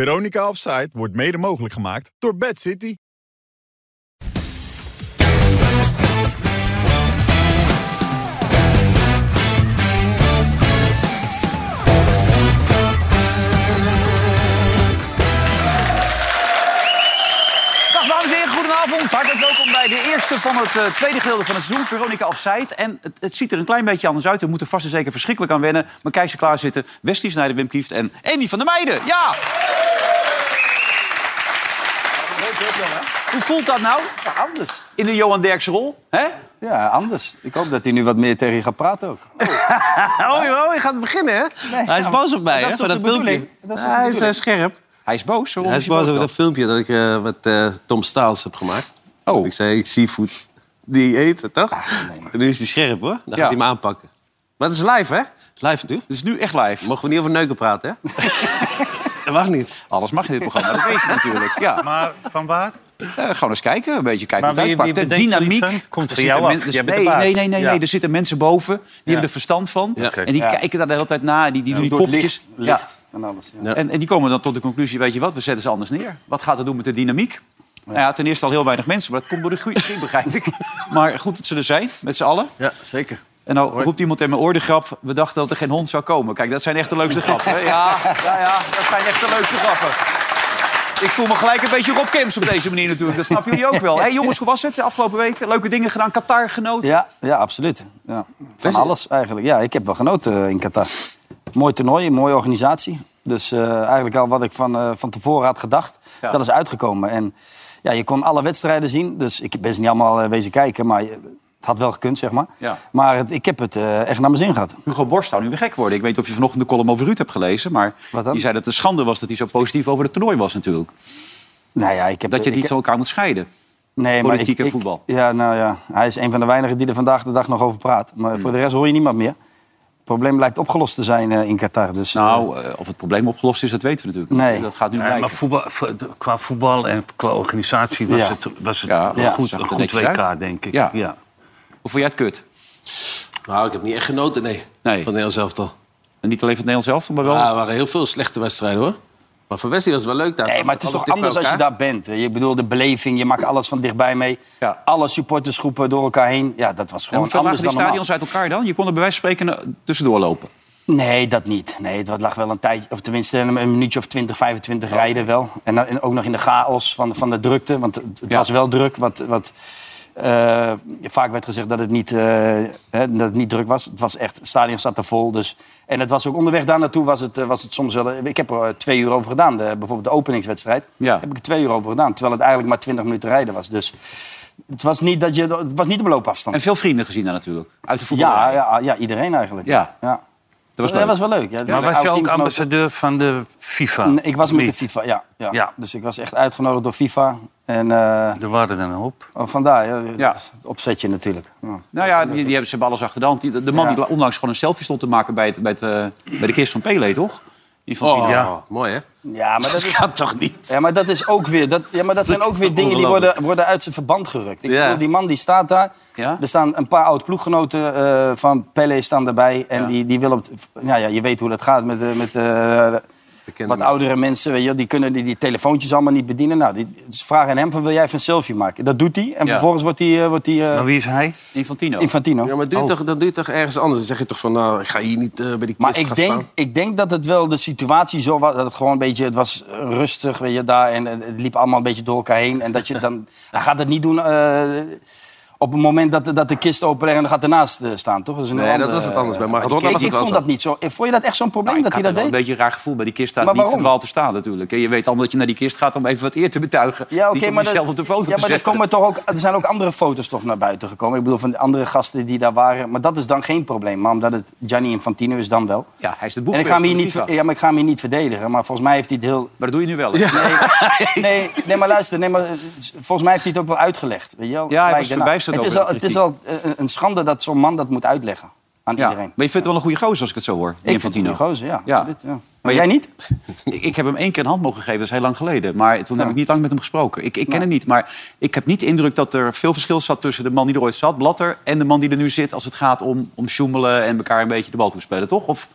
Veronica Offside wordt mede mogelijk gemaakt door Bad City. Dag dames en heren, goedenavond. Hartelijk welkom bij de eerste van het eh, tweede gedeelte van het seizoen, Veronica Offside. En het, het ziet er een klein beetje anders uit. We moeten vast en zeker verschrikkelijk aan wennen. Maar Keizer klaar zitten, Westie Snijder, Wim Kieft en Andy van der Meijden. Ja! Hoe voelt dat nou? Anders. In de Johan Derks rol, hè? Ja, anders. Ik hoop dat hij nu wat meer tegen je gaat praten ook. Oh, joh, je gaat beginnen, hè? hij is ja, boos op mij, dat hè, is voor toch dat de bedoeling? filmpje. Dat is toch de hij is eh, bedoeling? scherp. Hij is boos, hoor. Hij is boos over dan? dat filmpje dat ik eh, met eh, Tom Staals heb gemaakt. Oh. Ik zei, ik zie voet. Die eten, toch? Ah, En nu is hij scherp, hoor. Dan Ja. gaat hij me aanpakken. Maar het is live, hè? Live natuurlijk. Het is nu echt live. Mogen we niet over neuken praten, hè? dat mag niet. Alles mag in dit programma, dat weet je natuurlijk. Ja. Maar van waar? Eh, gewoon eens kijken, een beetje kijken Maar hoe het wie- wie uitpakt. De bedenkt zoiets dynamiek. dan? Komt Er zitten van jou men- af. er- Jij bent nee, de baas. nee, nee, nee, Ja. nee. Er zitten mensen boven. Die hebben er verstand van. Ja. En die Ja. kijken daar de hele tijd naar. Die, die doen die Door poppetjes. licht, Ja. licht en alles. Ja. Ja. En, en die komen dan tot de conclusie, weet je wat, we zetten ze anders neer. Wat gaat het doen met de dynamiek? Nou ja, ten eerste al heel weinig mensen, maar dat komt door de groei, begrijp ik. Maar goed dat ze er zijn, met z'n allen. Ja, zeker. En nou roept iemand in mijn oor de grap, we dachten dat er geen hond zou komen. Kijk, dat zijn echt de leukste grappen. hè? Ja, ja, ja, dat zijn echt de leukste grappen. Ik voel me gelijk een beetje Rob Kemps op deze manier natuurlijk. Dat snappen jullie ook wel. Hé jongens, hoe was het de afgelopen weken? Leuke dingen gedaan, Qatar genoten. Ja, ja, absoluut. Ja. Van alles eigenlijk. Ja, ik heb wel genoten eh, in Qatar. Mooi toernooi, mooie organisatie. Dus eh, eigenlijk al wat ik van, eh, van tevoren had gedacht, Ja. dat is uitgekomen. En ja, je kon alle wedstrijden zien. Dus ik ben ze niet allemaal eh, wezen kijken, maar je- het had wel gekund, zeg maar. Ja. Maar het, ik heb het eh, echt naar mijn zin gehad. Hugo Borst zou nu weer gek worden. Ik weet niet of je vanochtend de column over Ruud hebt gelezen. Maar Wat dan? die zei dat het een schande was dat hij zo positief over het toernooi was natuurlijk. Nou ja, ik heb, Dat je ik, die van elkaar moet scheiden. Nee, Politiek en voetbal. ja, nou ja, hij is een van de weinigen die er vandaag de dag nog over praat. Maar voor Hmm. de rest hoor je niemand meer. Het probleem lijkt opgelost te zijn eh, in Qatar. Dus, eh, Nou, eh, of het probleem opgelost is, dat weten we natuurlijk niet. Nee. Dat gaat nu Ja, blijken. maar voetbal, vo- de- qua voetbal en qua organisatie was Ja. het, was het Ja, een ja, Ah, goed, zag een er goed netjes WK, uit. denk ik. Ja. Ja. Of vond jij het kut? Nou, ik heb niet echt genoten, nee. Van Nee. Nederland zelf al. En niet alleen van het Nederlands elftal, maar wel... Ja, Nou, er waren heel veel slechte wedstrijden, hoor. Maar voor Wesley was het wel leuk daar. nee, maar het is Alles toch dicht bij anders als je elkaar. daar bent. hè? Je bedoelt de beleving, je maakt alles van dichtbij mee. Ja. Alle supportersgroepen door elkaar heen. Ja, dat was en gewoon hoeveel anders lagen die dan normaal. stadions uit elkaar dan? Je kon er bij wijze van spreken eh, tussendoor lopen. Nee, dat niet. Nee, het lag wel een tijdje, of tenminste een een minuutje of 20, 25 Oh. rijden wel. En, dan- en ook nog in de chaos van, van de drukte, want het, het Ja. was wel druk. Wat, wat, eh, vaak werd gezegd dat het, niet, eh, hè, dat het niet druk was. Het was echt, het stadion zat er vol. Dus, en het was ook onderweg daar naartoe was het, eh, was het soms wel... Ik heb er eh, twee uur over gedaan, de, bijvoorbeeld de openingswedstrijd. Ja. Heb ik er twee uur over gedaan, terwijl het eigenlijk maar 20 minuten rijden was. Dus het was niet, dat je, het was niet de beloopafstand. En veel vrienden gezien daar natuurlijk. Uit de voetbal. Ja, ja, ja, iedereen eigenlijk. Ja. ja. Dat was Dat leuk. was wel leuk. Ja. Maar was Oude je ook teamgenoten. ambassadeur van de FIFA? Nee, ik was Of met de niet? FIFA, ja, ja. Ja. Dus ik was echt uitgenodigd door FIFA. En eh, Er waren er een hoop. oh, vandaar, ja, Ja. Het, het opzetje natuurlijk. Ja. Nou ja, die, die hebben ze hebben alles achter de hand. Die- de man Ja. die onlangs gewoon een selfie stond te maken bij, het, bij, het, eh, bij de kist van Pele, toch? Die vond Oh, Ja. mooi, hè? Ja, maar dat is, gaat toch niet? ja, maar dat is ook weer. Dat, ja, maar dat zijn ook weer dingen die worden, worden uit zijn verband gerukt. Ik Ja. bedoel, die man die staat daar. Ja. Er staan een paar oud ploeggenoten eh, van Pele staan erbij. En die, die willen op. het- Nou ja, je weet hoe dat gaat met, eh, met eh, Bekende Wat oudere mensen, weet je, wel, die kunnen die, die telefoontjes allemaal niet bedienen. Nou, die ze vragen aan hem van, wil jij even een selfie maken? Dat doet hij. En Ja. vervolgens wordt hij eh, wordt hij eh, Maar wie is hij? Infantino. Infantino. Ja, maar doe je Oh. toch, dan doe je toch ergens anders. Dan zeg je toch van, nou, ik ga hier niet eh, bij die Maar kist ik gaan denk, staan. ik denk dat het wel de situatie zo was. Dat het gewoon een beetje. Het was eh, rustig, weet je, daar. En eh, het liep allemaal een beetje door elkaar heen. En dat je dan. Hij gaat het niet doen. eh, op het moment dat, dat de kist open en dan gaat ernaast eh, staan, toch? is een Nee, andere, dat was het anders. Bij eh, Maradona ik, was het ik wel vond zo. dat niet zo. Vond je dat echt zo'n probleem Nou, ik dat had hij er dat deed? wel een beetje een raar gevoel bij die kist staat. Maar Niet waarom? verdwaald te staan natuurlijk. En je weet allemaal dat je naar die kist gaat om even wat eer te betuigen. Ja, oké, Niet om maar, jezelf dat- op de foto ja, te maar er, zetten. komen toch ook, er zijn ook andere foto's toch naar buiten gekomen. Ik bedoel, van de andere gasten die daar waren. Maar dat is dan geen probleem. Maar omdat het Gianni Infantino is, dan wel. Ja, hij is de En ik boegbeeld ga, hem hier van de niet, FIFA. ver- ja, maar ik ga hem hier niet verdedigen. Maar volgens mij heeft hij het heel... Maar dat doe je nu wel. hè? Nee, nee, nee, maar luister. Nee, maar, eh, s- volgens mij heeft hij het ook wel uitgelegd. Weet je wel, Ja, hij gelijk was daarna. verbijsterd het is over al, de Het is al eh, een schande dat zo'n man dat moet uitleggen aan Ja. Maar je iedereen. vindt het wel een goede gozer als ik het zo hoor. die Ik vind het Infantino. een goede gozer, ja. Ja. absoluut, ja. Maar je- jij niet? Ik ik heb hem één keer een hand mogen geven, dat is heel lang geleden. Maar toen heb ik niet lang met hem gesproken. Ik, ik ken hem niet, maar ik heb niet de indruk dat er veel verschil zat... tussen de man die er ooit zat, Blatter, en de man die er nu zit... als het gaat om, om sjoemelen en elkaar een beetje de bal toespelen, toch? Of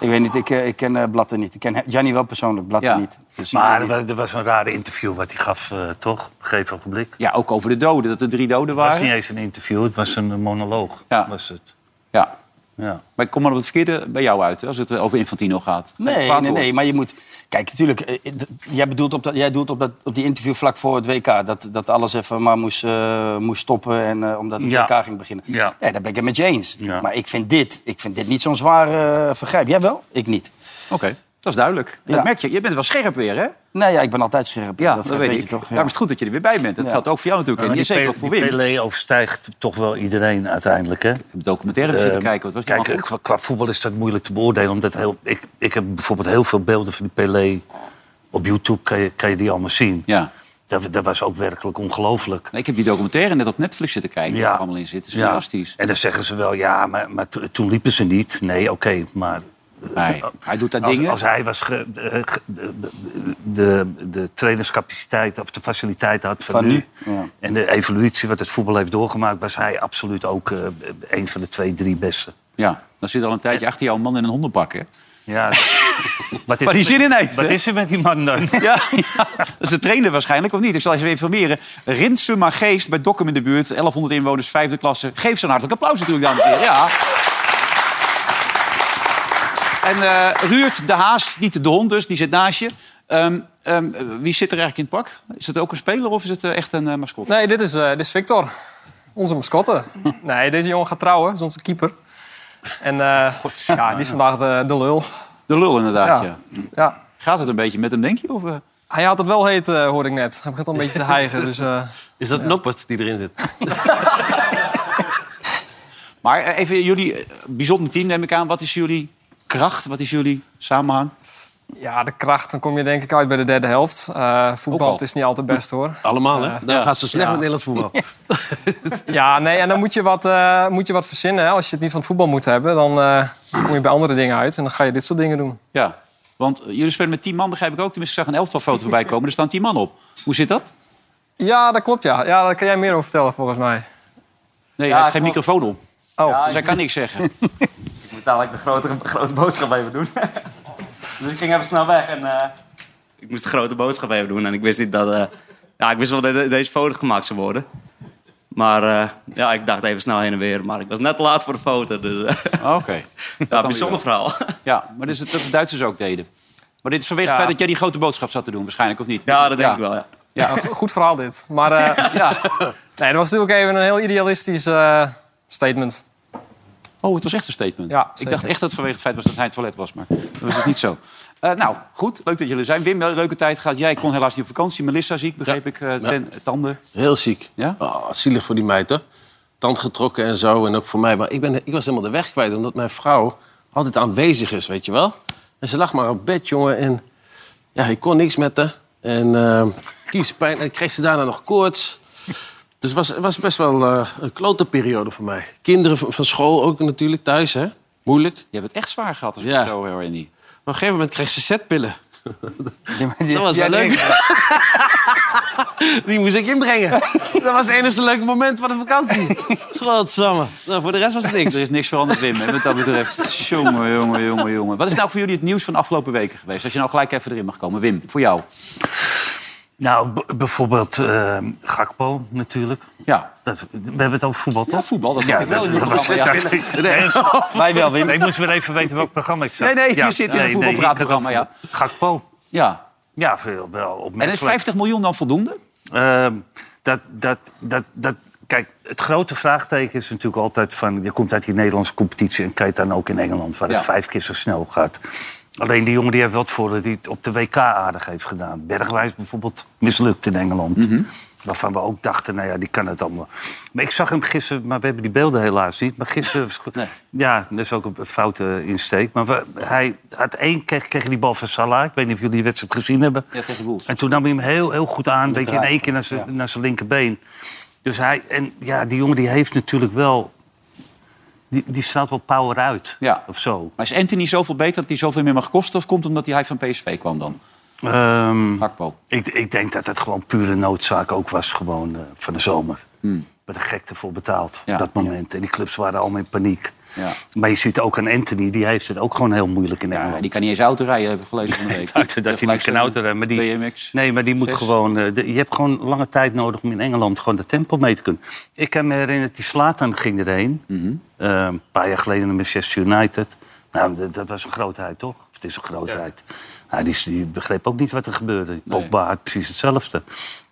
Ik weet niet, ik, eh, ik ken eh, Blatter niet. Ik ken Gianni wel persoonlijk, Blatter Ja. niet. Dus ik Maar weet er niet. was, er was een rare interview wat hij gaf, eh, toch? Op een gegeven ogenblik. Ja, ook over de doden, dat er drie doden Het was waren. niet eens een interview, het was een eh, monoloog. Ja. Was het. Ja. Ja. Maar ik kom maar op het verkeerde bij jou uit, hè, als het over Infantino gaat. Nee, Kwaad nee, woord. nee, maar je moet... Kijk, natuurlijk, eh, eh, d- jij bedoelt op, dat, jij doelt op, dat, op die interview vlak voor het WK... dat, dat alles even maar moest, eh, moest stoppen en, eh, omdat het Ja. WK ging beginnen. Ja. daar ben ik het met je eens. Ja. Maar ik vind dit, ik vind dit niet zo'n zwaar eh, vergrijp. Jij wel? Ik niet. Oké, dat is duidelijk. Ja. Dat merk je. Je bent wel scherp weer, hè? Nee, ja, ik ben altijd scherp. Ja, dat, weet, ik. je toch. ja. Daarom is het goed dat je er weer bij bent. Dat Ja. geldt ook voor jou natuurlijk. en Maar Nou, die zeker ook Pe- voor die Wim. Ik Pelé overstijgt toch wel iedereen uiteindelijk, hè? heb documentaire zitten Eh, kijken. Wat was dat kijk, qua, qua voetbal is dat moeilijk te beoordelen. Omdat heel, ik, ik heb bijvoorbeeld heel veel beelden van die Pelé. Op YouTube kan je, kan je die allemaal zien. Ja. Dat, dat was ook werkelijk ongelooflijk. Nee, Ik heb die documentaire net op Netflix zitten kijken. Waar Ja. het allemaal in zit. Het is Ja. fantastisch. En dan zeggen ze wel, ja, maar, maar to- toen liepen ze niet. Nee, oké, maar... Nee, hij doet daar als, dingen. Als hij was ge- eh, ge- de, de- de, de trainerscapaciteit of de faciliteit had van, Van nu... nu, ja. en de evolutie wat het voetbal heeft doorgemaakt... was hij absoluut ook eh, een van de twee, drie beste. Ja, dan zit al een tijdje achter jou een man in een hondenbak, hè? Ja. wat is Waar die zin in heeft, Wat hè? is er met die man dan? Ja, ja, dat is de trainer waarschijnlijk, of niet? Ik zal eens even informeren. Rinsuma Geest bij Dokkum in de buurt. 1100 inwoners, vijfde klasse. Geef ze een hartelijk applaus natuurlijk, dames en heren. Ja. En eh, Ruurt de Haas, niet de hond dus, die zit naast je. Ehm, ehm, wie zit er eigenlijk in het pak? Is het ook een speler of is het eh, echt een eh, mascotte? Nee, dit is, eh, dit is Victor. Onze mascotte. Nee, deze jongen gaat trouwen. Dat is onze keeper. En eh, ja, die is vandaag de, de lul. De lul inderdaad, ja. Ja. Gaat het een beetje met hem, denk je? Of, eh? Hij had het wel heet, eh, hoorde ik net. Hij begint al een beetje te hijgen. Dus, eh, Is dat Noppert die erin zit? Maar eh, even jullie eh, bijzonder team, neem ik aan. Wat is jullie kracht? Wat is jullie samenhang? ja, de kracht. Dan kom je denk ik uit bij de derde helft. Eh, Ook voetbal al. het is niet altijd best hoor. Eh, Allemaal, hè? Dan gaat ze slecht Ja. met Nederlands voetbal. Ja, nee, en dan moet je wat, eh, moet je wat verzinnen. Hè. Als je het niet van het voetbal moet hebben, dan eh, kom je bij andere dingen uit. En dan ga je dit soort dingen doen. Ja, want eh, jullie spelen met 10 man, begrijp ik ook. Tenminste, ik zag een elftalfoto voorbij komen. Er staan 10 man op. Hoe zit dat? Ja, dat klopt ja. Ja, daar kan jij meer over vertellen volgens mij. Nee, hij heeft geen microfoon op. Oh, Dus hij kan niks zeggen. Ik moet dadelijk de grotere, grote boodschap even doen. dus ik ging even snel weg en eh, ik moest de grote boodschap even doen. En ik wist niet dat... eh, ja, ik wist wel dat de- deze foto gemaakt zou worden. Maar eh, ja, ik dacht even snel heen en weer. Maar ik was net te laat voor de foto. Dus eh, Oké. ja, bijzonder verhaal. Ja, maar dat is het dat de Duitsers ook deden. Maar dit is vanwege Ja. het feit dat jij die grote boodschap zat te doen, waarschijnlijk, of niet? ja, dat denk ik wel, ja. ja, go- goed verhaal dit. Maar eh, Ja. Nee, dat was natuurlijk even een heel idealistisch eh, statement. Oh, het was echt een statement. Ja, ik zeker. dacht echt dat het vanwege het feit was dat hij in het toilet was, maar dat was het niet zo. Eh, nou, goed. Leuk dat jullie er zijn. Wim, wel een leuke tijd gehad. Jij kon helaas niet op vakantie. Melissa ziek, begreep ik. eh, ten- tanden. Heel ziek. Ja? Oh, zielig voor die meid, hoor. Tand getrokken en zo, en ook voor mij. Maar ik, ben, ik was helemaal de weg kwijt, omdat mijn vrouw altijd aanwezig is, weet je wel. En ze lag maar op bed, jongen, en ja, ik kon niks met haar. En ehm, kiespijn, en kreeg ze daarna nog koorts. Dus het was, het was best wel eh, een klote periode voor mij. Kinderen van, van school ook natuurlijk, thuis, hè. Moeilijk. Maar Je hebt het echt zwaar gehad, als ik Ja. het zo hoor, Andy. op een gegeven moment kreeg ze zetpillen. Die- die- Dat was die- wel leuk. Die moest ik inbrengen. Dat was het enige leuke moment van de vakantie. Godsamme. Nou, voor de rest was het niks. Er is niks veranderd, Wim, hè, wat dat betreft. Jongen, jongen, jongen, jongen. Wat is nou voor jullie het nieuws van de afgelopen weken geweest? Als je nou gelijk even erin mag komen. Wim, voor jou. Nou, b- bijvoorbeeld eh, Gakpo natuurlijk. Ja, Dat, we hebben het over voetbal, ja toch? voetbal, dat Ja, heb ik wel in dit dat was programma, ja. dat- Nee, Wij wel, Wim. Ik moest weer even weten welk programma ik zat. Nee, nee, je zit in een voetbalpraatprogramma, ik had een voetbal- Gakpo. ja. Ja, veel, wel En is opmerkelijk. 50 miljoen dan voldoende? Ehm, dat, dat, dat, dat, kijk, het grote vraagteken is natuurlijk altijd van... je komt uit die Nederlandse competitie en kijkt dan ook in Engeland... waar Ja. het vijf keer zo snel gaat. Alleen die jongen die heeft wat voor die het op de WK aardig heeft gedaan. Bergwijs bijvoorbeeld mislukt in Engeland. Mhm. Waarvan we ook dachten, nou ja, die kan het allemaal. Maar ik zag hem gisteren, maar we hebben die beelden helaas niet. Maar gisteren, ja, dat is ook een foute insteek. Maar we- hij had één, kreeg, kreeg die bal van Salah. Ik weet niet of jullie die wedstrijd gezien hebben. Ja, tegen Wolves. En toen nam hij hem heel, heel goed aan, weet je, in één keer naar zijn, naar zijn linkerbeen. Dus hij, en ja, die jongen die heeft natuurlijk wel, die, die straalt wel power uit, Ja. of zo. Maar is Anthony zoveel beter dat hij zoveel meer mag kosten? Of komt het omdat hij van PSV kwam dan? Ehm, Gakpo. ik, ik denk dat het gewoon pure noodzaak ook was, gewoon eh, van de zomer. Met de gekte voor betaald, Hmm. Ja. op dat moment. En die clubs waren allemaal in paniek. Ja. Maar je ziet ook aan Anthony, die heeft het ook gewoon heel moeilijk in Engeland. Ja, die kan niet eens auto rijden, heb ik gelezen van de week. Buiten dat hij niet kan autorijden. Maar die, BMX. nee, maar die moet Zes. gewoon... eh, de- je hebt gewoon lange tijd nodig om in Engeland gewoon de tempo mee te kunnen. Ik kan me herinneren, die Slatan ging erheen. Eh, een paar jaar geleden naar Manchester United. Nou, dat, dat was een grootheid, toch? Of Het is een grootheid. Nou, die, die begreep ook niet wat er gebeurde. Pogba had precies hetzelfde.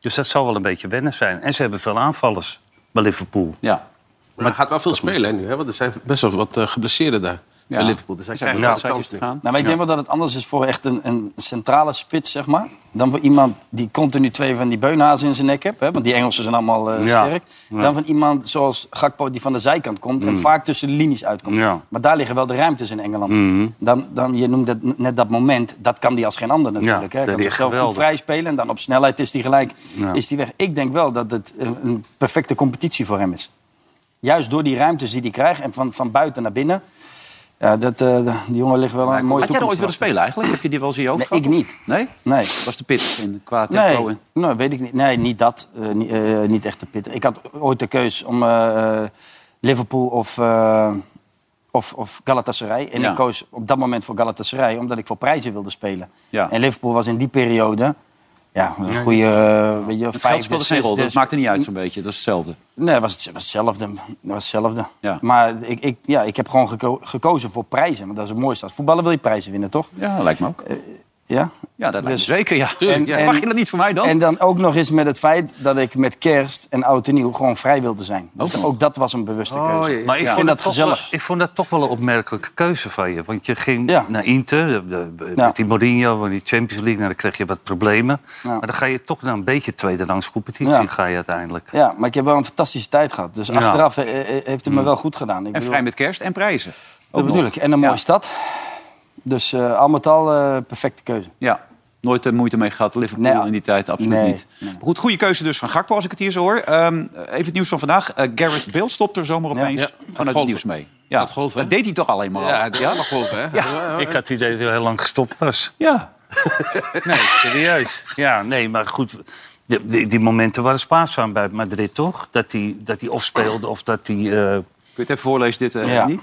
Dus dat zal wel een beetje wennen zijn. En ze hebben veel aanvallers bij Liverpool. Ja. Maar hij gaat wel veel spelen hè, nu, hè? want er zijn best wel wat eh, geblesseerden daar bij Liverpool. Dus hij zijn krijgt nog wel wel kans te nu. gaan. Nou, maar ik denk wel dat het anders is voor echt een, een centrale spits, zeg maar. Dan voor iemand die continu twee van die beunhazen in zijn nek hebt. Hè, want die Engelsen zijn allemaal eh, Ja. Mm. sterk. Dan van iemand zoals Gakpo die van de zijkant komt. En vaak tussen de linies uitkomt. Ja. Mm-hmm. Maar daar liggen wel de ruimtes in Engeland. Dan, dan, je noemt dat, net dat moment. Dat kan die als geen ander natuurlijk. Ja, hè. Hij dat kan is zichzelf goed geweldig. vrij spelen. En dan op snelheid is die gelijk Ja. is die weg. Ik denk wel dat het een- een perfecte competitie voor hem is. Juist door die ruimtes die hij krijgt. En van, van buiten naar binnen. Ja, dat, eh, die jongen ligt wel een mooie Had jij er ooit toekomst willen spelen eigenlijk? Heb je die wel eens in je hoofd Nee, gehad, ik of- niet. Nee? Nee. Was de pit in qua tempo? Nee, en- nou, weet ik niet. Nee, niet dat. Eh, niet, eh, niet echt de pit. Ik had ooit de keus om eh, eh, Liverpool of, eh, of, of Galatasaray. En Ja. ik koos op dat moment voor Galatasaray, omdat ik voor prijzen wilde spelen. Ja. En Liverpool was in die periode... Ja, een goede... eh, weet je, Het geld vijfde, speelde geen rol, zesde- dat maakt er niet uit zo'n beetje. Dat is hetzelfde. Nee, dat was, het- was hetzelfde. Dat was hetzelfde. Ja. Maar ik, ik, ja, ik heb gewoon geko- gekozen voor prijzen. Want dat is het mooiste. Als voetballer wil je prijzen winnen, toch? Eh, Ja, lijkt me ook. Ja? Ja, dat lijkt Dus- me zeker, ja. Tuurlijk, ja. En- Mag je dat niet voor mij dan? En dan ook nog eens met het feit dat ik met kerst en oud en nieuw gewoon vrij wilde zijn. Dus ook dat was een bewuste keuze. Oh, Ja. Maar ik, vond Vind dat dat toch wel, gezellig. ik vond dat toch wel een opmerkelijke keuze van je. Want je ging Ja. naar Inter, de- de- de- Ja. met die Mourinho, en die Champions League. Nou, dan kreeg je wat problemen. Maar dan ga je toch naar een beetje tweederangs competitie Ja. ga je uiteindelijk. Ja, maar ik heb wel een fantastische tijd gehad. Dus Ja. achteraf eh, eh, heeft het me wel goed gedaan. Ik Mm. En vrij met kerst en prijzen. dat bedoel ik. En een mooie Ja. stad. Dus eh, al met al eh, perfecte keuze. Ja. Nooit eh, moeite mee gehad, Liverpool Nee. in die tijd, absoluut Nee. niet. Maar goed, goede keuze dus van Gakpo, als ik het hier zo hoor. Ehm, even het nieuws van vandaag. Eh, Gareth Bale stopt er zomaar opeens Ja. vanuit het Golf. nieuws mee. Ja. Gaat golven, hè? Dat deed hij toch alleen maar al. Ja, het is wel golven, hè? Ja. Ik had het idee dat hij heel lang gestopt was. Ja. Nee, serieus. Ja, nee, maar goed. Die, die, die momenten waren spaarzaam bij Madrid, toch? Dat hij dat die of speelde of dat hij... eh, Kun je het even voorlezen, dit? eh, Ja. Henny?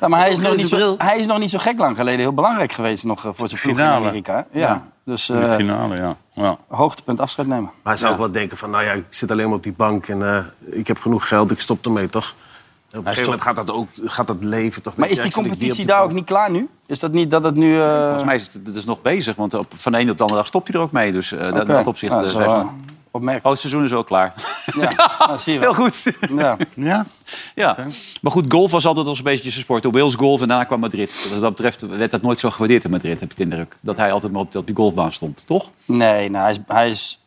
Nou, maar hij is, Ook nog deze niet zo, bril. hij is nog niet zo gek lang geleden heel belangrijk geweest nog eh, voor zijn ploeg in Finale. Amerika. Ja. Dus in eh, de finale, ja. ja. hoogtepunt afscheid nemen. Maar hij zou ook wel denken van, nou ja, ik zit alleen maar op die bank en eh, ik heb genoeg geld, ik stop ermee, toch? En Op een gegeven moment gaat dat, ook, gaat dat leven toch? Maar is die competitie daar ook niet klaar nu? Is dat niet dat het nu... eh, Volgens mij is het dus nog bezig, want op, van de ene op de andere dag stopt hij er ook mee. Dus eh, dat, oké. in dat opzicht Nou, eh, dat is zijn ze- wel, oh, eh, opmerkelijk. het seizoen is wel klaar. Ja, dat zie je wel. Heel goed. Ja. ja. Ja. Maar goed, golf was altijd al een beetje zijn sport. Op Wales golf en daarna kwam Madrid. Dus Wat dat betreft werd dat nooit zo gewaardeerd in Madrid, heb ik de indruk. Dat hij altijd maar op die- op die golfbaan stond, toch? Nee, nou, hij is. Hij is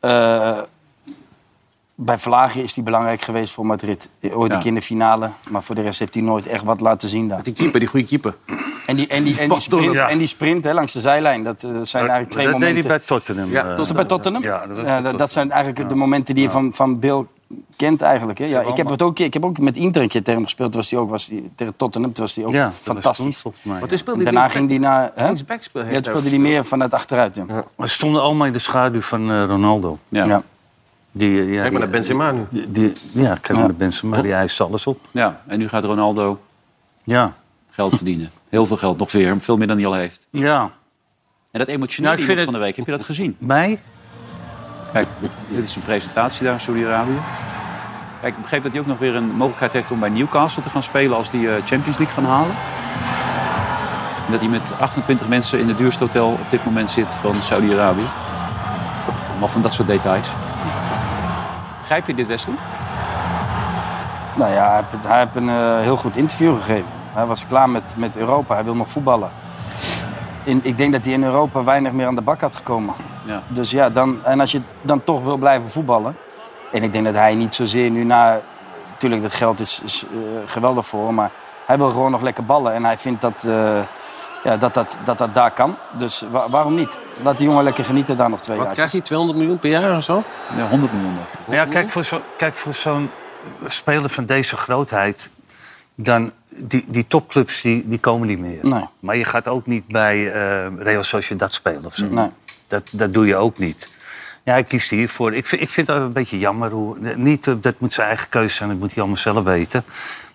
eh, bij Vlagen is hij belangrijk geweest voor Madrid. Ooit Ja. een keer in de finale, maar voor de rest heeft hij nooit echt wat laten zien daar. Die keeper, die goede keeper. En die, en die, en die sprint, ja. en die sprint hè, langs de zijlijn, dat eh, zijn eigenlijk twee dat momenten. deed hij bij Tottenham. Ja, eh, dat was dat bij Tottenham? Ja, dat was bij Ja, dat, Tottenham. zijn eigenlijk de momenten die je van, van Bill kent eigenlijk. Hè. Ja, ik, heb allemaal- het ook, ik heb ook met Inter een keer tegen hem gespeeld. Was die ook, was die, tegen Tottenham toen was die ook Ja, dat was toen, fantastisch. volgens mij, Wat ja. is speelde Daarna ging hij naar... Hè? linksback speelde hij Ja, toen speelde hij meer vanuit achteruit. Ja. We stonden allemaal in de schaduw van eh, Ronaldo. Ja. Ja. ja. Die, eh, ja, Kijk maar die- naar Benzema nu. Die, die- ja, kijk maar naar Benzema. Die eist alles op. En nu gaat Ronaldo Ja. geld verdienen. Heel veel geld, nog weer. Veel meer dan hij al heeft. Ja. En dat emotionele Nou, ik vind iemand van de week, heb je dat gezien? Mij? Kijk, dit is een presentatie daar in Saudi-Arabië. Kijk, ik begreep dat hij ook nog weer een mogelijkheid heeft om bij Newcastle te gaan spelen als die eh, Champions League gaan halen. En dat hij met 28 mensen in het duurste hotel op dit moment zit van Saudi-Arabië. Allemaal van dat soort details. Begrijp je dit, Wesley? Nou ja, hij heeft, hij heeft een eh, heel goed interview gegeven. Hij was klaar met, met Europa, hij wil nog voetballen. In, ik denk dat hij in Europa weinig meer aan de bak had gekomen. Ja. Dus ja, dan, en als je dan toch wil blijven voetballen... En ik denk dat hij niet zozeer nu na... Natuurlijk, dat geld is, is eh, geweldig voor hem, maar hij wil gewoon nog lekker ballen. En hij vindt dat eh, ja, dat, dat, dat dat daar kan. Dus wa- waarom niet? Laat die jongen lekker genieten daar nog twee Wat jaar. krijgt hij, 200 miljoen per jaar of zo? Ja, 100 miljoen nog. Nou ja, kijk voor, zo, kijk, voor zo'n speler van deze grootheid... Dan, die, die topclubs die, die komen niet meer. Nee. Maar je gaat ook niet bij eh Real Sociedad spelen of zo. Nee. Dat, dat doe je ook niet. Ja, ik kies hiervoor. Ik vind, ik vind het een beetje jammer. Hoe, niet, eh, dat moet zijn eigen keuze zijn, dat moet hij allemaal zelf weten.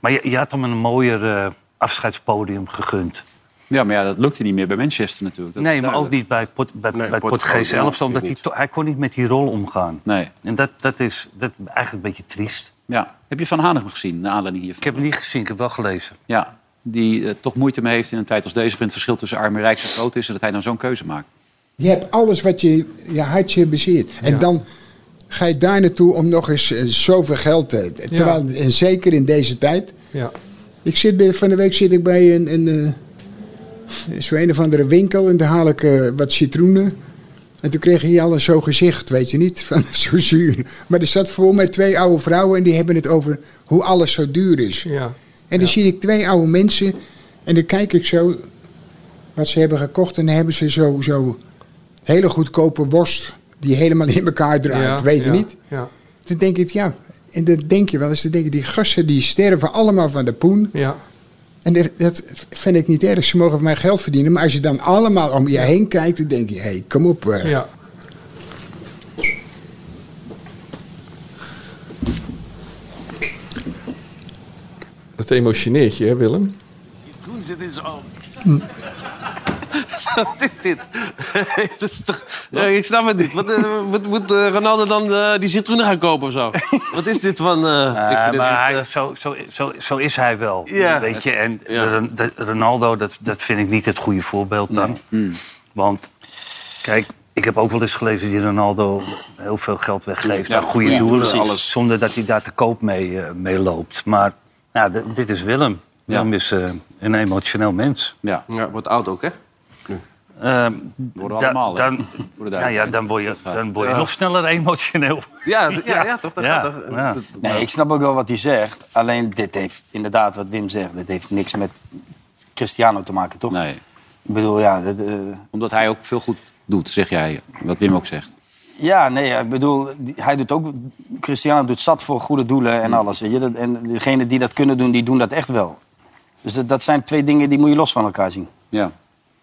Maar je, je had hem een mooier eh, afscheidspodium gegund. Ja, maar ja, dat lukte niet meer bij Manchester natuurlijk. Dat nee, is maar ook duidelijk. niet bij, Port, bij, Nee, bij Portugal Portugees zelf elftal. Omdat hij, natuurlijk to- hij kon niet met die rol omgaan. Nee. En dat, dat, is, dat is eigenlijk een beetje triest. Ja. Heb je Van Hanegem gezien, naar aanleiding hiervan? Ik heb hem niet gezien, ik heb wel gelezen. Ja, die eh, toch moeite mee heeft in een tijd als deze... waarin het verschil tussen arm en rijk zo groot is... en dat hij dan zo'n keuze maakt. Je hebt alles wat je, je hartje bezeert. En dan ga je daar naartoe om nog eens eh, zoveel geld te... Terwijl, en zeker in deze tijd. Ja. Ik zit bij, van de week zit ik bij een, een, eh, zo een of andere winkel en daar haal ik eh, wat citroenen. En toen kreeg hij al een zo gezicht, weet je niet, van zo zuur. Maar er zat vol met twee oude vrouwen en die hebben het over hoe alles zo duur is. Ja. En dan zie ik twee oude mensen en dan kijk ik zo wat ze hebben gekocht. En dan hebben ze zo, zo hele goedkope worst die helemaal in elkaar draait, Ja, weet je ja, niet. Ja. Dan denk ik, ja, en dan denk je wel eens, dan denk ik, die gassen die sterven allemaal van de poen. ja. En dat- dat vind ik niet erg, ze mogen van mij geld verdienen. Maar als je dan allemaal om je heen kijkt, dan denk je, hé, hey, kom op. eh. Ja. Dat emotioneert je, hè, Willem? Doen ze dit zo? Oh. Wat is dit? dat is toch... Ja, ik snap het niet. Wat, eh, moet, moet eh, Ronaldo dan eh, die citroenen gaan kopen of zo? Wat is dit van... eh, ik vind Eh, dit- maar hij- zo, zo, zo, zo is hij wel. Ja. Weet je? En Ja. Ren- de- Ronaldo, dat, dat vind ik niet het goede voorbeeld dan. Hmm. Want kijk, ik heb ook wel eens gelezen die Ronaldo heel veel geld weggeeft aan goede doelen. Alles. Zonder dat hij daar te koop mee, eh, mee loopt. Maar nou, d- dit is Willem. Willem is eh, een emotioneel mens. Ja, Ja, wordt oud ook, hè? Ehm, worden we da- allemaal, hè? dan, Voor de nou ja, duidelijkheid. dan word je, dan word je nog sneller emotioneel. Ja, d- ja, ja, toch? Dat Ja, gaat toch- ja. dat- Nee, ik snap ook wel wat hij zegt. Alleen dit heeft inderdaad wat Wim zegt. Dit heeft niks met Cristiano te maken, toch? Nee, Ik bedoel, ja. dat, eh, omdat hij ook veel goed doet, zeg jij. Wat Wim ook zegt. ja, nee, ja, ik bedoel, die- hij doet ook. Cristiano doet zat voor goede doelen Mm. en alles. Weet je? Dat- En degenen die dat kunnen doen, die doen dat echt wel. Dus dat, dat zijn twee dingen die moet je los van elkaar zien. Ja.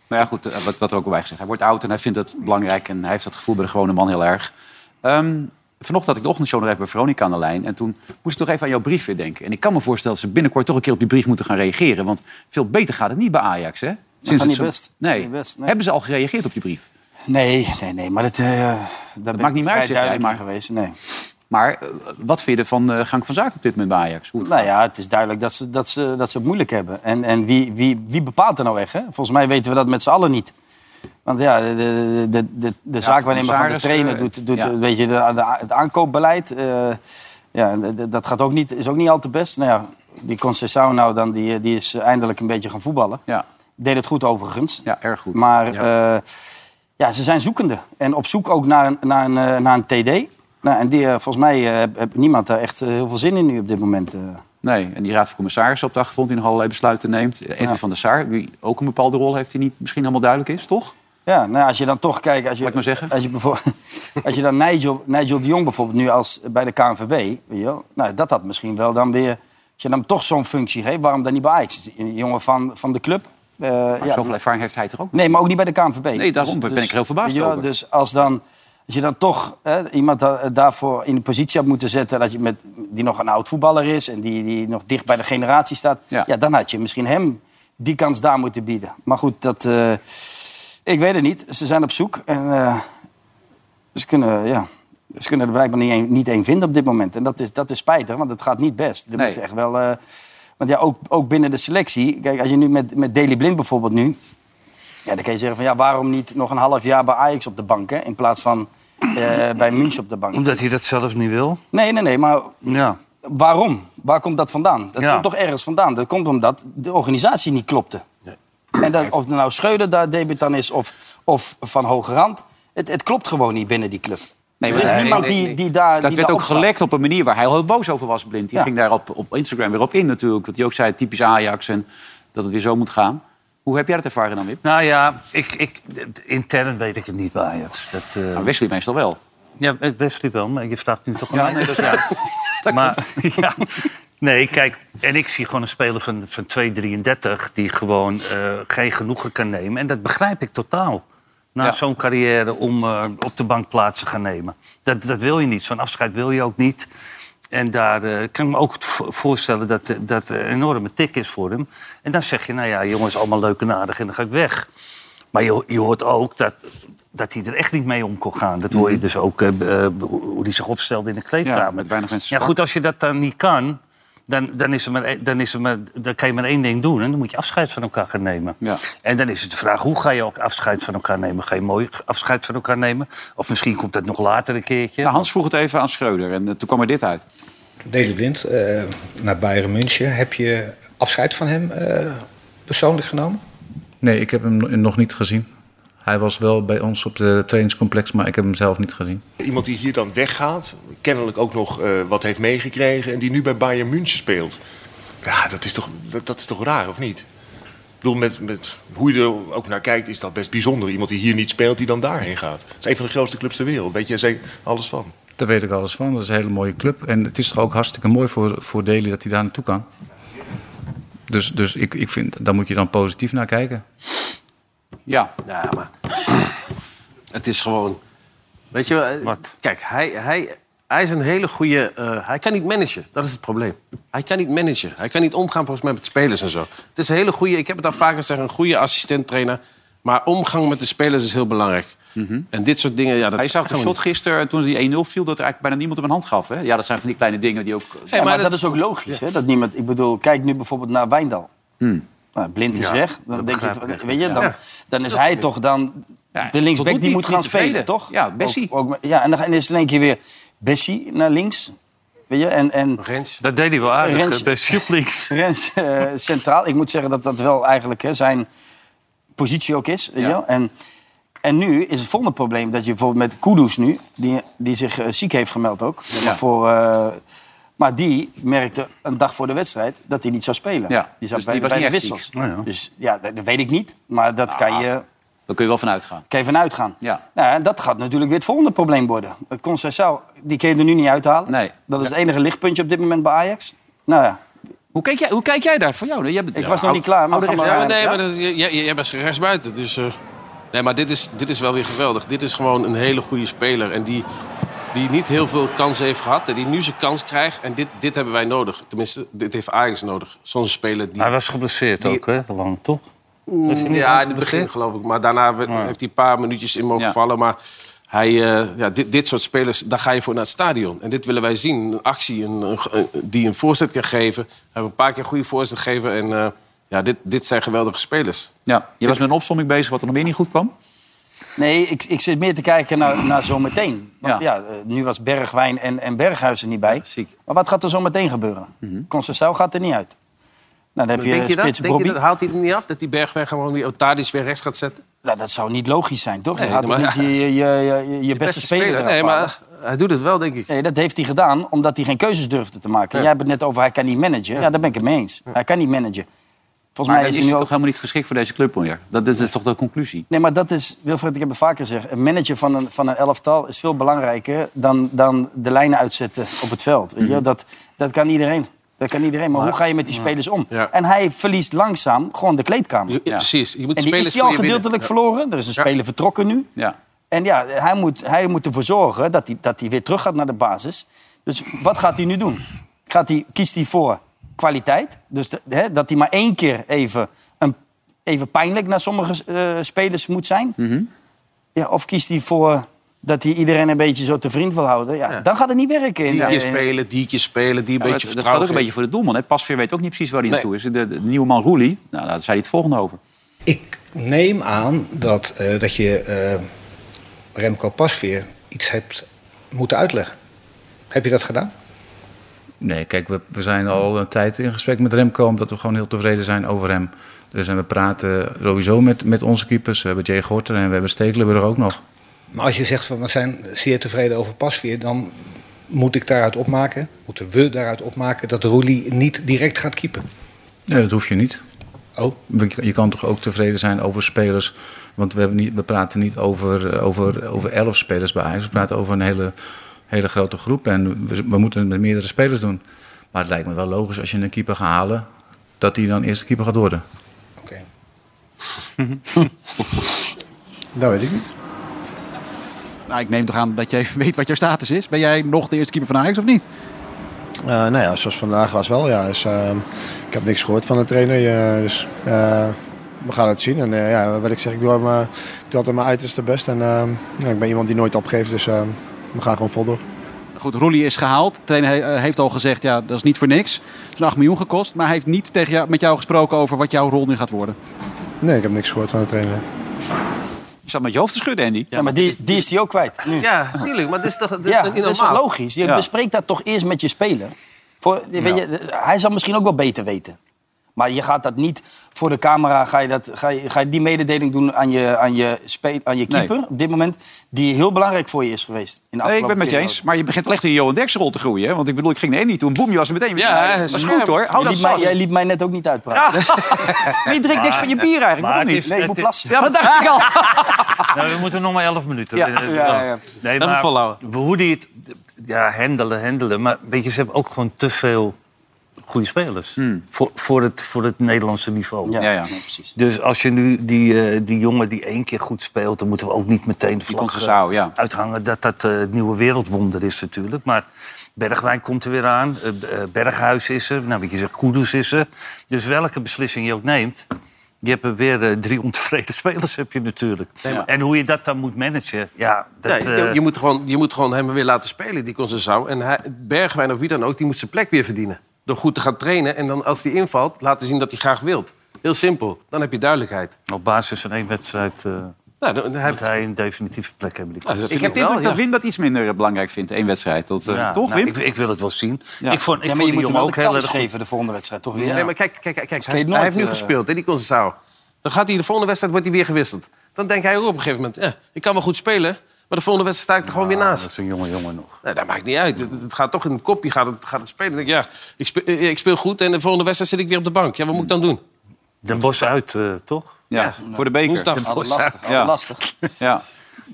Maar ja, goed, eh, wat, wat er ook al bij gezegd. Hij wordt oud en hij vindt het belangrijk. En hij heeft dat gevoel bij de gewone man heel erg. Ehm, vanochtend had ik de ochtendshow nog even bij Veronica aan de lijn. En toen moest ik toch even aan jouw brief weer denken. En ik kan me voorstellen dat ze binnenkort toch een keer op die brief moeten gaan reageren. Want veel beter gaat het niet bij Ajax, hè? gaat niet het zo- best. Nee. Niet best, nee. Hebben ze al gereageerd op die brief? Nee, nee, nee. Maar dat, eh dat, maakt niet meer uit, zeg jij, duidelijk maar- maar geweest. Nee. Maar eh, wat vind je van de gang van zaken op dit moment bij Ajax? Hoe het Nou gaat? ja, het is duidelijk dat ze, dat ze, dat ze het moeilijk hebben. En, en wie, wie, wie bepaalt er nou echt? Hè? Volgens mij weten we dat met z'n allen niet. Want ja, de, de, de, de, de zaak waarin we van de commissaris, trainer eh, doet, doet ja. een beetje de, de- het aankoopbeleid. eh, ja, en d- d- dat gaat ook niet, is ook niet al te best. Nou ja, die Concessao nou dan, die, die is eindelijk een beetje gaan voetballen. Ja. Deed het goed overigens. ja, erg goed. Maar ja. ja, ze zijn zoekende. En op zoek ook naar, een- naar, een, eh, naar een TD. Nou, en die, eh, volgens mij eh, heb- heeft niemand daar echt eh, heel veel zin in nu op dit moment. eh. Nee, en die raad van commissarissen op de achtergrond die nog allerlei besluiten neemt. Eh, Edwin van der Sar, die ook een bepaalde rol heeft die niet misschien helemaal duidelijk is, toch? Ja, nou, ja, als je dan toch kijkt... Als je, Laat ik maar zeggen. Als je, bijvoorbeeld- als je dan Nigel, Nigel de Jong bijvoorbeeld nu als bij de KNVB... Weet je, wel, nou, dat had misschien wel dan weer... Als je dan toch zo'n functie geeft, waarom dan niet bij Ajax? Een jongen van, van de club. eh, Maar ja, zoveel ervaring heeft hij toch ook? Nee, maar ook niet bij de KNVB. Nee, daarom ben ik er heel verbaasd weet je wel, over. Dus als, dan, als je dan toch hè, iemand da- daarvoor in de positie had moeten zetten... Dat je met, die nog een oud voetballer is en die, die nog dicht bij de generatie staat... Ja. Ja. dan had je misschien hem die kans daar moeten bieden. Maar goed, dat, eh, ik weet het niet. Ze zijn op zoek en eh, ze, kunnen, ja, ze kunnen er blijkbaar niet één, niet één vinden op dit moment. En dat is, dat is spijtig, want het gaat niet best. Er Nee. moet echt wel... eh, want ja, ook, ook binnen de selectie. Kijk, als je nu met, met Daily Blind bijvoorbeeld nu... Ja, dan kan je zeggen van ja, waarom niet nog een half jaar bij Ajax op de bank, hè? In plaats van eh, bij München op de bank. Omdat hij dat zelf niet wil. Nee, nee, nee, maar Ja. waarom? Waar komt dat vandaan? Dat Ja. komt toch ergens vandaan? Dat komt omdat de organisatie niet klopte. En dat, of er nou Scheuder daar debut aan is of, of Van Hoge Rand. Het, het klopt gewoon niet binnen die club. Nee, er is niemand die, die daar Dat die werd daar ook opstaat. gelekt op een manier waar hij al heel boos over was, Blind. Die Ja. ging daar op, op Instagram weer op in natuurlijk. Want hij ook zei, typisch Ajax en dat het weer zo moet gaan. Hoe heb jij dat ervaren dan, Wim? Nou ja, ik, ik, intern weet ik het niet bij Ajax. Dat, eh, Nou, Wesley meestal wel. Ja, Wesley wel, maar je vraagt nu toch aan Ja, mij. nee, dat is waar. maar, ja, nee, kijk, en ik zie gewoon een speler van, van 2,33 die gewoon eh, geen genoegen kan nemen. En dat begrijp ik totaal. na Ja. zo'n carrière om eh, op de bank plaats te gaan nemen. Dat, dat wil je niet. Zo'n afscheid wil je ook niet. En daar eh, kan ik me ook vo- voorstellen dat eh, dat een enorme tik is voor hem. En dan zeg je, nou ja, jongens, allemaal leuk en aardig en dan ga ik weg. Maar je, ho- je hoort ook dat, dat hij er echt niet mee om kon gaan. Dat hoor je dus ook, eh, b- eh, hoe hoe hij zich opstelde in de kleedkamer. Ja, met weinig mensen Ja, sprak. goed, als je dat dan niet kan, dan, dan, is er maar, één- dan, is er maar, dan kan je maar één ding doen. En dan moet je afscheid van elkaar gaan nemen. Ja. En dan is het de vraag, hoe ga je ook afscheid van elkaar nemen? Ga je mooi afscheid van elkaar nemen? Of misschien komt dat nog later een keertje. Nou, Hans vroeg het even aan Schreuder en eh, toen kwam er dit uit. Daley Blind, eh, naar Bayern München. Heb je afscheid van hem eh, persoonlijk genomen? Nee, ik heb hem no- nog niet gezien. Hij was wel bij ons op de trainingscomplex, maar ik heb hem zelf niet gezien. Iemand die hier dan weggaat, kennelijk ook nog eh, wat heeft meegekregen en die nu bij Bayern München speelt. Ja, dat is toch, dat, dat is toch raar, of niet? Ik bedoel, met, met hoe je er ook naar kijkt, is dat best bijzonder. Iemand die hier niet speelt, die dan daarheen gaat. Het is een van de grootste clubs ter wereld. Weet jij zeker alles van? Daar weet ik alles van. Dat is een hele mooie club. En het is toch ook hartstikke mooi voor, voor Deli dat hij daar naartoe kan. Dus, dus ik, ik vind, daar moet je dan positief naar kijken. Ja. Ja, maar het is gewoon... Weet je, eh, kijk, hij, hij, hij is een hele goede... eh, hij kan niet managen, dat is het probleem. Hij kan niet managen. Hij kan niet omgaan volgens mij met spelers en zo. Het is een hele goede, ik heb het al vaker gezegd, een goede assistent-trainer. Maar omgang met de spelers is heel belangrijk. En dit soort dingen, ja, dat Hij zag de gaan we shot niet. gisteren, toen die 1-0 viel, dat er eigenlijk bijna niemand hem een hand gaf. Hè? Ja, dat zijn van die kleine dingen die ook... Ja, maar, dat, is ook logisch, hè? Dat niemand, ik bedoel, kijk nu bijvoorbeeld naar Wijndal. Nou, blind is Hmm. Ja, weg. dat Dan denk je, begrijp ik echt weet je, niet. dan, Ja. dan is hij toch dan de linksback die tot niet moet gaan tevreden. spelen, toch? Ja, Bessie. Ook, ook- ja, en dan is het in één keer weer Bessie naar links. Weet je, en, en Dat deed hij wel aardig Rens- eh, bij Schutlinks. Rens eh, centraal. Ik moet zeggen dat dat wel eigenlijk hè, zijn positie ook is. weet je wel. En, en nu is het volgende probleem dat je bijvoorbeeld met Kudus nu... die, die zich eh, ziek heeft gemeld ook. Maar, voor, eh, maar die merkte een dag voor de wedstrijd dat hij niet zou spelen. Ja, Die zat dus bij, die was bij niet de echt wissels. ziek. Oh Nou ja. Dus ja, dat, dat weet ik niet. Maar dat kan je... Daar kun je wel van uitgaan. Kan je vanuit gaan. Ja. Nou, en dat gaat natuurlijk weer het volgende probleem worden. Concessao, die kun je er nu niet uithalen. Nee. Dat is het enige lichtpuntje op dit moment bij Ajax. Nou ja, Hoe kijk jij, hoe kijk jij daar voor jou? Ik was nog niet klaar, maar oude ga rechts- maar- ja, nee, ja? maar dat- jij- jij jij bent rechtsbuiten. Dus, eh, nee, maar dit is, dit is wel weer geweldig. Dit is gewoon een hele goede speler. En die, die niet heel veel kansen heeft gehad. En die nu zijn kans krijgt. En dit, dit hebben wij nodig. Tenminste, dit heeft Ajax nodig. Zo'n speler die... Hij was geblesseerd ook, hè? Lang, toch? Mm, Was hij niet ja, lang in het begin geblesseerd? geloof ik. Maar daarna we- heeft hij een paar minuutjes in mogen Ja. vallen. Maar hij, eh, ja, dit, dit soort spelers, daar ga je voor naar het stadion. En dit willen wij zien. Een actie een, een- een- die een voorzet kan geven. We hebben een paar keer een goede voorzet gegeven. En eh, ja, dit, dit zijn geweldige spelers. Ja, je was met een opsomming bezig wat er nog meer niet goed kwam. Nee, ik, ik zit meer te kijken naar, naar zometeen. Want ja. eh, nu was Bergwijn en, en Berghuis er niet bij. Maar wat gaat er zometeen gebeuren? Mhm. mm gaat er niet uit. Nou, dan heb je denk je, dat? spits denk je Bobby. dat? Haalt hij er niet af dat die Bergweg gewoon die Otadis weer rechts gaat zetten? Nou, dat zou niet logisch zijn, toch? Nee, je gaat toch maar- niet je, je, je, je beste, beste speler, speler. eraf Nee, maar halen? hij doet het wel, denk ik. Nee, dat heeft hij gedaan omdat hij geen keuzes durfde te maken. Jij hebt het net over hij kan niet managen. Ja, daar ben ik het mee eens. Hij kan niet managen. Volgens mij maar dan is is hij nu hij ook toch helemaal niet geschikt voor deze club meer. Dat, dat is toch de conclusie. Nee, maar dat is, Wilfred, ik heb het vaker gezegd. Een manager van een, van een elftal is veel belangrijker dan, dan de lijnen uitzetten op het veld. Weet je? Mhm. dat, dat kan iedereen. Dat kan iedereen. Maar, Maar- hoe ga je met die spelers om? Ja. En hij verliest langzaam gewoon de kleedkamer. Ja, Precies. Je moet en die spelers is die voor al je winnen. gedeeltelijk verloren. Er is een speler vertrokken nu. Ja. En ja, hij moet, hij moet ervoor zorgen dat hij, dat hij weer terug gaat naar de basis. Dus wat gaat hij nu doen? Gaat hij, kiest hij voor kwaliteit? Dus de- hè, dat hij maar één keer even, een, even pijnlijk naar sommige eh, spelers moet zijn? Ja, of kiest hij voor dat hij iedereen een beetje zo te vriend wil houden? Ja, Dan gaat het niet werken. In, eh, Die keer in- spelen, die keer spelen, die een Ja, maar beetje dat gaat ook een vertrouwen beetje voor de doelman. Hè? Pasveer weet ook niet precies waar hij Nee. naartoe is. De, de nieuwe man Roelie, nou, daar zei hij het volgende over. Neem aan dat, eh, dat je eh, Remco Pasveer iets hebt moeten uitleggen. Heb je dat gedaan? Nee, kijk, we, we zijn al een tijd in gesprek met Remco... omdat we gewoon heel tevreden zijn over hem. Dus en we praten sowieso met, met onze keepers. We hebben Jay Gorter en we hebben Stekelenburg ook nog. Maar als je zegt van we zijn zeer tevreden over Pasveer, dan moet ik daaruit opmaken, moeten we daaruit opmaken dat Roelie niet direct gaat keepen. Nee, dat hoef je niet. Oh. Je kan toch ook tevreden zijn over spelers. Want we, hebben niet, we praten niet over, eh, over, over elf spelers bij Ajax. We praten over een hele, hele grote groep. En we, we moeten het met meerdere spelers doen. Maar het lijkt me wel logisch als je een keeper gaat halen... dat hij dan eerste keeper gaat worden. Oké. Dat weet ik niet. Nou, ik neem toch aan dat jij weet wat jouw status is. Ben jij nog de eerste keeper van Ajax of niet? Eh nou ja, zoals vandaag was wel. Ja. Dus, eh, ik heb niks gehoord van de trainer. eh, dus eh, we gaan het zien. En eh, ja, wat ik zeg, ik doe, hem, eh, ik doe altijd mijn uiterste best. En eh, ja, ik ben iemand die nooit opgeeft. Dus eh, we gaan gewoon vol door. Goed, Roelie is gehaald. De trainer he- eh, heeft al gezegd, ja, dat is niet voor niks. Het is een 8 miljoen gekost. Maar hij heeft niet tegen jou, met jou gesproken over wat jouw rol nu gaat worden. Nee, ik heb niks gehoord van de trainer. Je zat met je hoofd te schudden, Andy. Ja, maar die, die is die ook kwijt. Nu. Ja, tuurlijk. Maar dat is toch, dat is ja, toch niet dat is toch normaal? logisch? Je Ja. bespreekt dat toch eerst met je speler. Voor, weet je, hij zal misschien ook wel beter weten. Maar je gaat dat niet voor de camera, ga je, dat, ga je, ga je die mededeling doen aan je, aan je, spe, aan je keeper op dit moment, die heel belangrijk voor je is geweest. In de Nee, ik afgelopen ben het met je periode. eens. Maar je begint wel echt in je Johan Derksen rol te groeien. Hè? Want ik bedoel, ik ging de Andy toen. Boem, je was er meteen. Ja, dat is scherp. goed hoor. Hou Jij dat liet mij- vast. jij liet mij net ook niet uitpraten. Maar je drinkt niks van je bier eigenlijk. Maar Waarom het niet? is- Nee, ik moet het- plassen. Ja, dat dacht ik al. Nou, we moeten nog maar 11 minuten. Eh, Ja, ja, ja, ja, precies. Nee, Even maar volhouden. we- hoe die het... Ja, handelen, handelen. Maar weet je, ze hebben ook gewoon te veel goede spelers. Voor, voor, het, voor het Nederlandse niveau. Ja, ja, ja, precies. Dus als je nu die, eh, die jongen die één keer goed speelt... dan moeten we ook niet meteen de vlag Conceição, eh, ja. uithangen... dat dat eh, het nieuwe wereldwonder is natuurlijk. Maar Bergwijn komt er weer aan. eh, B- eh, Berghuis is er. Nou, weet je zegt, Kudus is er. Dus welke beslissing je ook neemt... Je hebt er weer eh, drie ontevreden spelers heb je natuurlijk. Nee, maar- En hoe je dat dan moet managen, ja, dat, Nee, je, eh, je, moet gewoon, je moet gewoon hem weer laten spelen, die Conceição. En hij, Bergwijn of wie dan ook, die moet zijn plek weer verdienen. Door goed te gaan trainen en dan als hij invalt, laten zien dat hij graag wilt. Heel simpel, dan heb je duidelijkheid. op basis van één wedstrijd eh Nou, dan, dan heb moet hij een definitieve plek hebben. Die Nou, kans. Ik heb de indruk Dus dat Wim dat iets minder eh, belangrijk vindt. Eén wedstrijd. Dat, eh, Ja, toch, nou, Wim? ik, ik wil het wel zien. Ja. Ik vond, ik Ja, maar vond je die moet jongen hem wel ook de heel kans erg goed. Geven de volgende wedstrijd toch weer. Nee, maar kijk, kijk, kijk, kijk hij, Skate hij heeft nu nooit, eh, gespeeld, hè, die Conceição. Dan gaat hij de volgende wedstrijd wordt hij weer gewisseld. Dan denkt hij ook op een gegeven moment, ja, ik kan wel goed spelen... maar de volgende wedstrijd sta ik er gewoon weer naast. Dat is een jonge jongen nog. Nee, dat maakt niet uit. Het, het gaat toch in het kopje gaat het, gaat het spelen. Dan denk ik, ja, ik speel, eh, ik speel goed en de volgende wedstrijd zit ik weer op de bank. Ja, wat moet ik dan doen? Den Bos uit, eh, toch? Ja, voor de beker. Woensdag. Den Alles Bosch uit. lastig, Ja. alles lastig. Ja.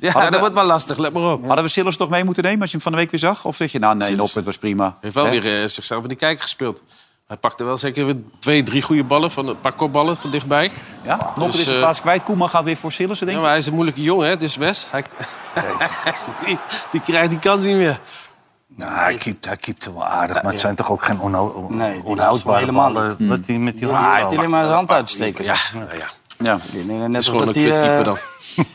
Ja, Hadden we- dat wordt wel lastig, let maar op. Hadden we Sillers toch mee moeten nemen als je hem van de week weer zag? Of zeg je, nou nee, Sillers. Lop, het was prima. Hij heeft wel Hè? weer eh, zichzelf in de kijker gespeeld. Hij pakte wel zeker weer twee, drie goede ballen, van, een paar kopballen van dichtbij. Ja, Noppert Dus, is de eh, plaats kwijt. Koeman gaat weer voor Sillessen, denk ik. ja, maar hij is een moeilijke jongen, hè, dus Wes. Hij, die, die krijgt die kans niet meer. Nou, hij keept, hij keept er wel aardig, maar het zijn toch ook geen onho- on- Nee, die laatste onhoudbare helemaal ballen. niet. Met die, met die Die handen heeft zo. alleen maar zijn hand uitsteken. Ja, nou ja. Ja. Net is als gewoon een dat die, kutkeeper eh, dan.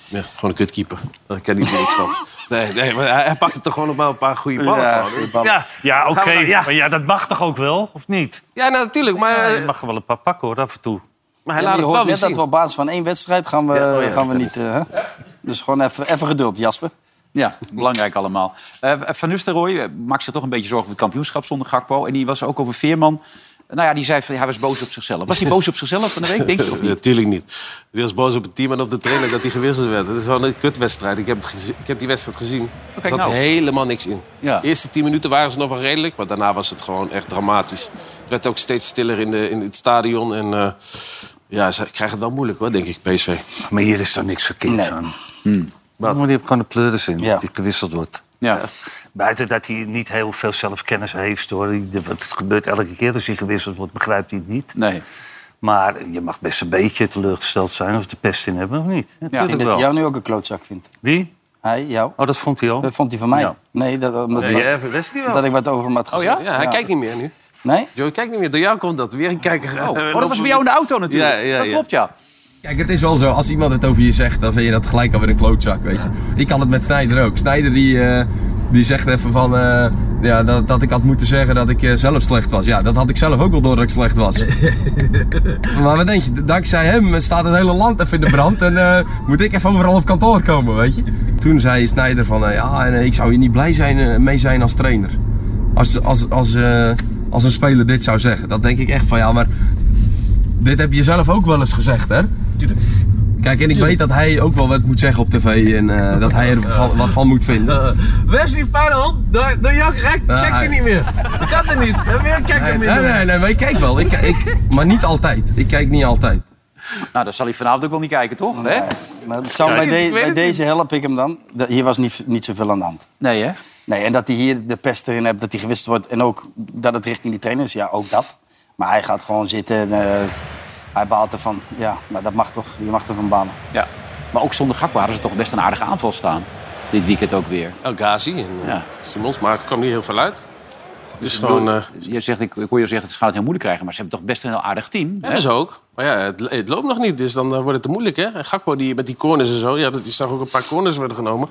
Ja, gewoon een kutkeeper. Daar ken ik niks van. Nee, nee maar hij, hij pakte toch gewoon nog maar een paar goede ballen Ja, van. Dus goede ballen. Ja, ja oké. Maar ja, dat mag toch ook wel, of niet? Ja, nou, natuurlijk, maar... je mag er wel een paar pakken, hoor, af en toe. Maar hij Ja, maar je laat het wel hoort weer net dat zien. we op basis van één wedstrijd gaan we, Ja, oh ja, gaan we dat niet. eh, hè? Dus gewoon even, even geduld, Jasper. Ja, belangrijk allemaal. Eh, van Nistelrooy eh, maakt zich toch een beetje zorgen over het kampioenschap zonder Gakpo. En die was ook over Veerman. Nou ja, die zei van, hij was boos op zichzelf. Was hij boos op zichzelf van de week, denk je? Of niet? Natuurlijk niet. Die was boos op het team en op de trainer dat hij gewisseld werd. Het is gewoon een kutwedstrijd. Ik heb, het gezi- ik heb die wedstrijd gezien. er zat nou. helemaal niks in. Ja. De eerste tien minuten waren ze nog wel redelijk, maar daarna was het gewoon echt dramatisch. Het werd ook steeds stiller in, de, in het stadion. En eh, ja, ze krijgen het wel moeilijk, hoor, denk ik, PSV. Maar hier is dan niks verkeerd Nee. aan. Maar die heeft Hmm. gewoon de pleuris in, die gewisseld wordt. Ja. Eh, Buiten dat hij niet heel veel zelfkennis heeft, hoor. Die- de- want Het gebeurt elke keer als hij gewisseld wordt, begrijpt hij het niet. Nee. Maar je mag best een beetje teleurgesteld zijn of de pest in hebben of niet. ik denk Natuurlijk dat hij wel. jou nu ook een klootzak vindt. Wie? Hij, jou. Oh, dat vond hij al? Dat vond hij van mij. Ja. Nee, dat, omdat Nee, ik- ja, dat wist hij wel. dat ik wat over hem had Oh gezegd. ja? Ja, hij kijkt niet meer nu. Nee? Joey kijkt niet meer. Door jou komt dat. Weer een kijker. Oh, dat was bij jou in de auto natuurlijk. Ja, ja, dat ja. klopt, ja. Kijk, het is wel zo, als iemand het over je zegt, dan vind je dat gelijk alweer een klootzak, weet je. Ik had het met Snijder ook. Snijder die, eh, die zegt even van, eh, ja, dat, dat ik had moeten zeggen dat ik eh, zelf slecht was. Ja, dat had ik zelf ook wel door dat ik slecht was. maar wat denk je, dankzij hem staat het hele land even in de brand en eh, moet ik even overal op kantoor komen, weet je. Toen zei Snijder van, eh, ja, en, eh, ik zou hier niet blij zijn, eh, mee zijn als trainer. Als, als, als, eh, als een speler dit zou zeggen. Dat denk ik echt van, ja, maar dit heb je zelf ook wel eens gezegd, hè? Tuurlijk. Kijk, en ik weet dat hij ook wel wat moet zeggen op tv en eh, dat hij er van- wat van moet vinden. Wes die fijne hand, door, door jou gek, Ah, kijk hij- er niet meer. Dat kan er niet, en weer kijk Nee, er nee, niet nee, meer. nee, maar ik kijk wel. Ik, ik, maar niet altijd. Ik kijk niet altijd. Nou, dat zal hij vanavond ook wel niet kijken, toch? Hè? Maar het zou Ja, Nou, bij, ik de- weet het bij niet. deze help ik hem dan. Dat- hier was niet, niet zoveel aan de hand. Nee, hè? Nee, en dat hij hier de pest erin hebt, dat hij gewisseld wordt. En ook dat het richting die trainer is, ja, ook dat. Maar hij gaat gewoon zitten en eh, hij baalt ervan. Ja, maar dat mag toch. Je mag ervan balen. Ja. Maar ook zonder Gakpo hadden ze toch best een aardige aanval staan. Dit weekend ook weer. El Ghazi en eh, Simons, maar het kwam niet heel veel uit. Dus is gewoon, eh, je zegt, ik, ik hoor je zeggen, ze gaan het heel moeilijk krijgen. Maar ze hebben toch best een heel aardig team. Hebben ze ook. Maar ja, eh, het, het loopt nog niet, dus dan eh, wordt het te moeilijk, hè? En Gakpo die, met die corners en zo, ja, dat- die zag ook een paar corners werden genomen.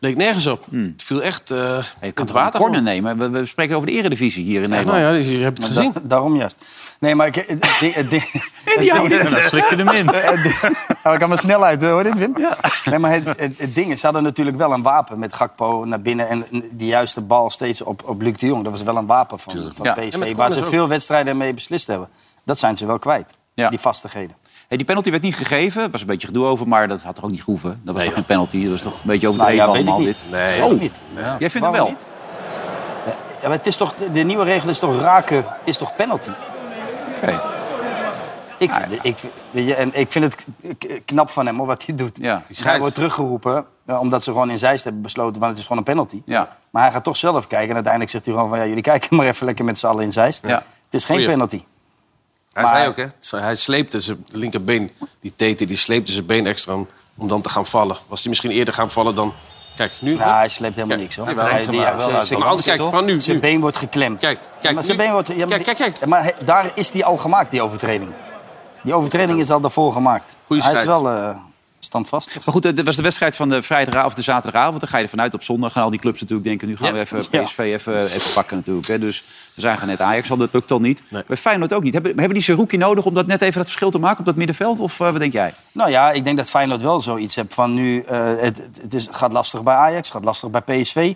Leek nergens op. Het viel echt eh Hmm. Je in kunt het toch een water. corner nemen. We, we spreken over de eredivisie hier in Nederland. nou ja, je hebt het Maar gezien. dat- daarom juist. Nee, maar ik... Het, het, ding- het, ding- het, die houdt ding- niet. Ja, dan slik je hem in. Het ding- Nou, ik kan maar snel uit, hoor, dit Wim. Nee, maar het, het, het ding is, ze hadden natuurlijk wel een wapen met Gakpo naar binnen... en die juiste bal steeds op, op Luc de Jong. Dat was wel een wapen van, van Ja. En met PSV, waar corners ze ook. veel wedstrijden mee beslist hebben. Dat zijn ze wel kwijt, die vastigheden. Hey, die penalty werd niet gegeven. Er was een beetje gedoe over, maar dat had toch ook niet gehoeven? Dat was toch geen penalty? Dat was toch een beetje overdreven Nou ja, weet ik allemaal niet. dit? Nee. oh, Weet ik niet. Ja. Jij vindt het Waarom wel? Ja, maar het is toch, de nieuwe regel is toch raken, is toch penalty? Ah, Ik vind, ik, vind- weet je, en ik vind het k- knap van hem, hoor, wat hij doet. Ja. hij wordt teruggeroepen, eh, omdat ze gewoon in Zeist hebben besloten... want het is gewoon een penalty. Ja. Maar hij gaat toch zelf kijken. En uiteindelijk zegt hij gewoon van... ja, jullie kijken maar even lekker met z'n allen in Zeist. Ja. Het is geen Goeie. penalty. Hij Maar- zei ook, hè? het zei- Hij sleepte zijn linkerbeen, die teten, die sleepte zijn been extra om, om dan te gaan vallen. Was hij misschien eerder gaan vallen dan... Kijk, nu... Nou, hij sleept helemaal niks, hoor. Jawel, Hij- ze die- waren ze- wel uit ze- balans. Kijk, van nu, Zijn nu. been wordt geklemd. Kijk, kijk, maar zijn nu. been wordt, ja, Kijk, kijk, kijk. Maar he- daar is die al gemaakt, die overtreding. Die overtreding is al daarvoor gemaakt. Goeie hij is scheids. wel eh standvastig. Maar goed, eh, dat was de wedstrijd van de vrijdagavond of de zaterdagavond. Dan ga je vanuit op zondag. Gaan al die clubs natuurlijk denken, nu gaan we even Ja. PSV even, even pakken natuurlijk. Hè. Dus we zagen net Ajax al, dat lukt dan niet. Bij Feyenoord ook niet. Hebben, hebben die Seruki nodig om dat net even dat verschil te maken op dat middenveld? Of eh, wat denk jij? Nou ja, ik denk dat Feyenoord wel zoiets hebt van nu... eh, het, het- het is, gaat lastig bij Ajax, gaat lastig bij PSV.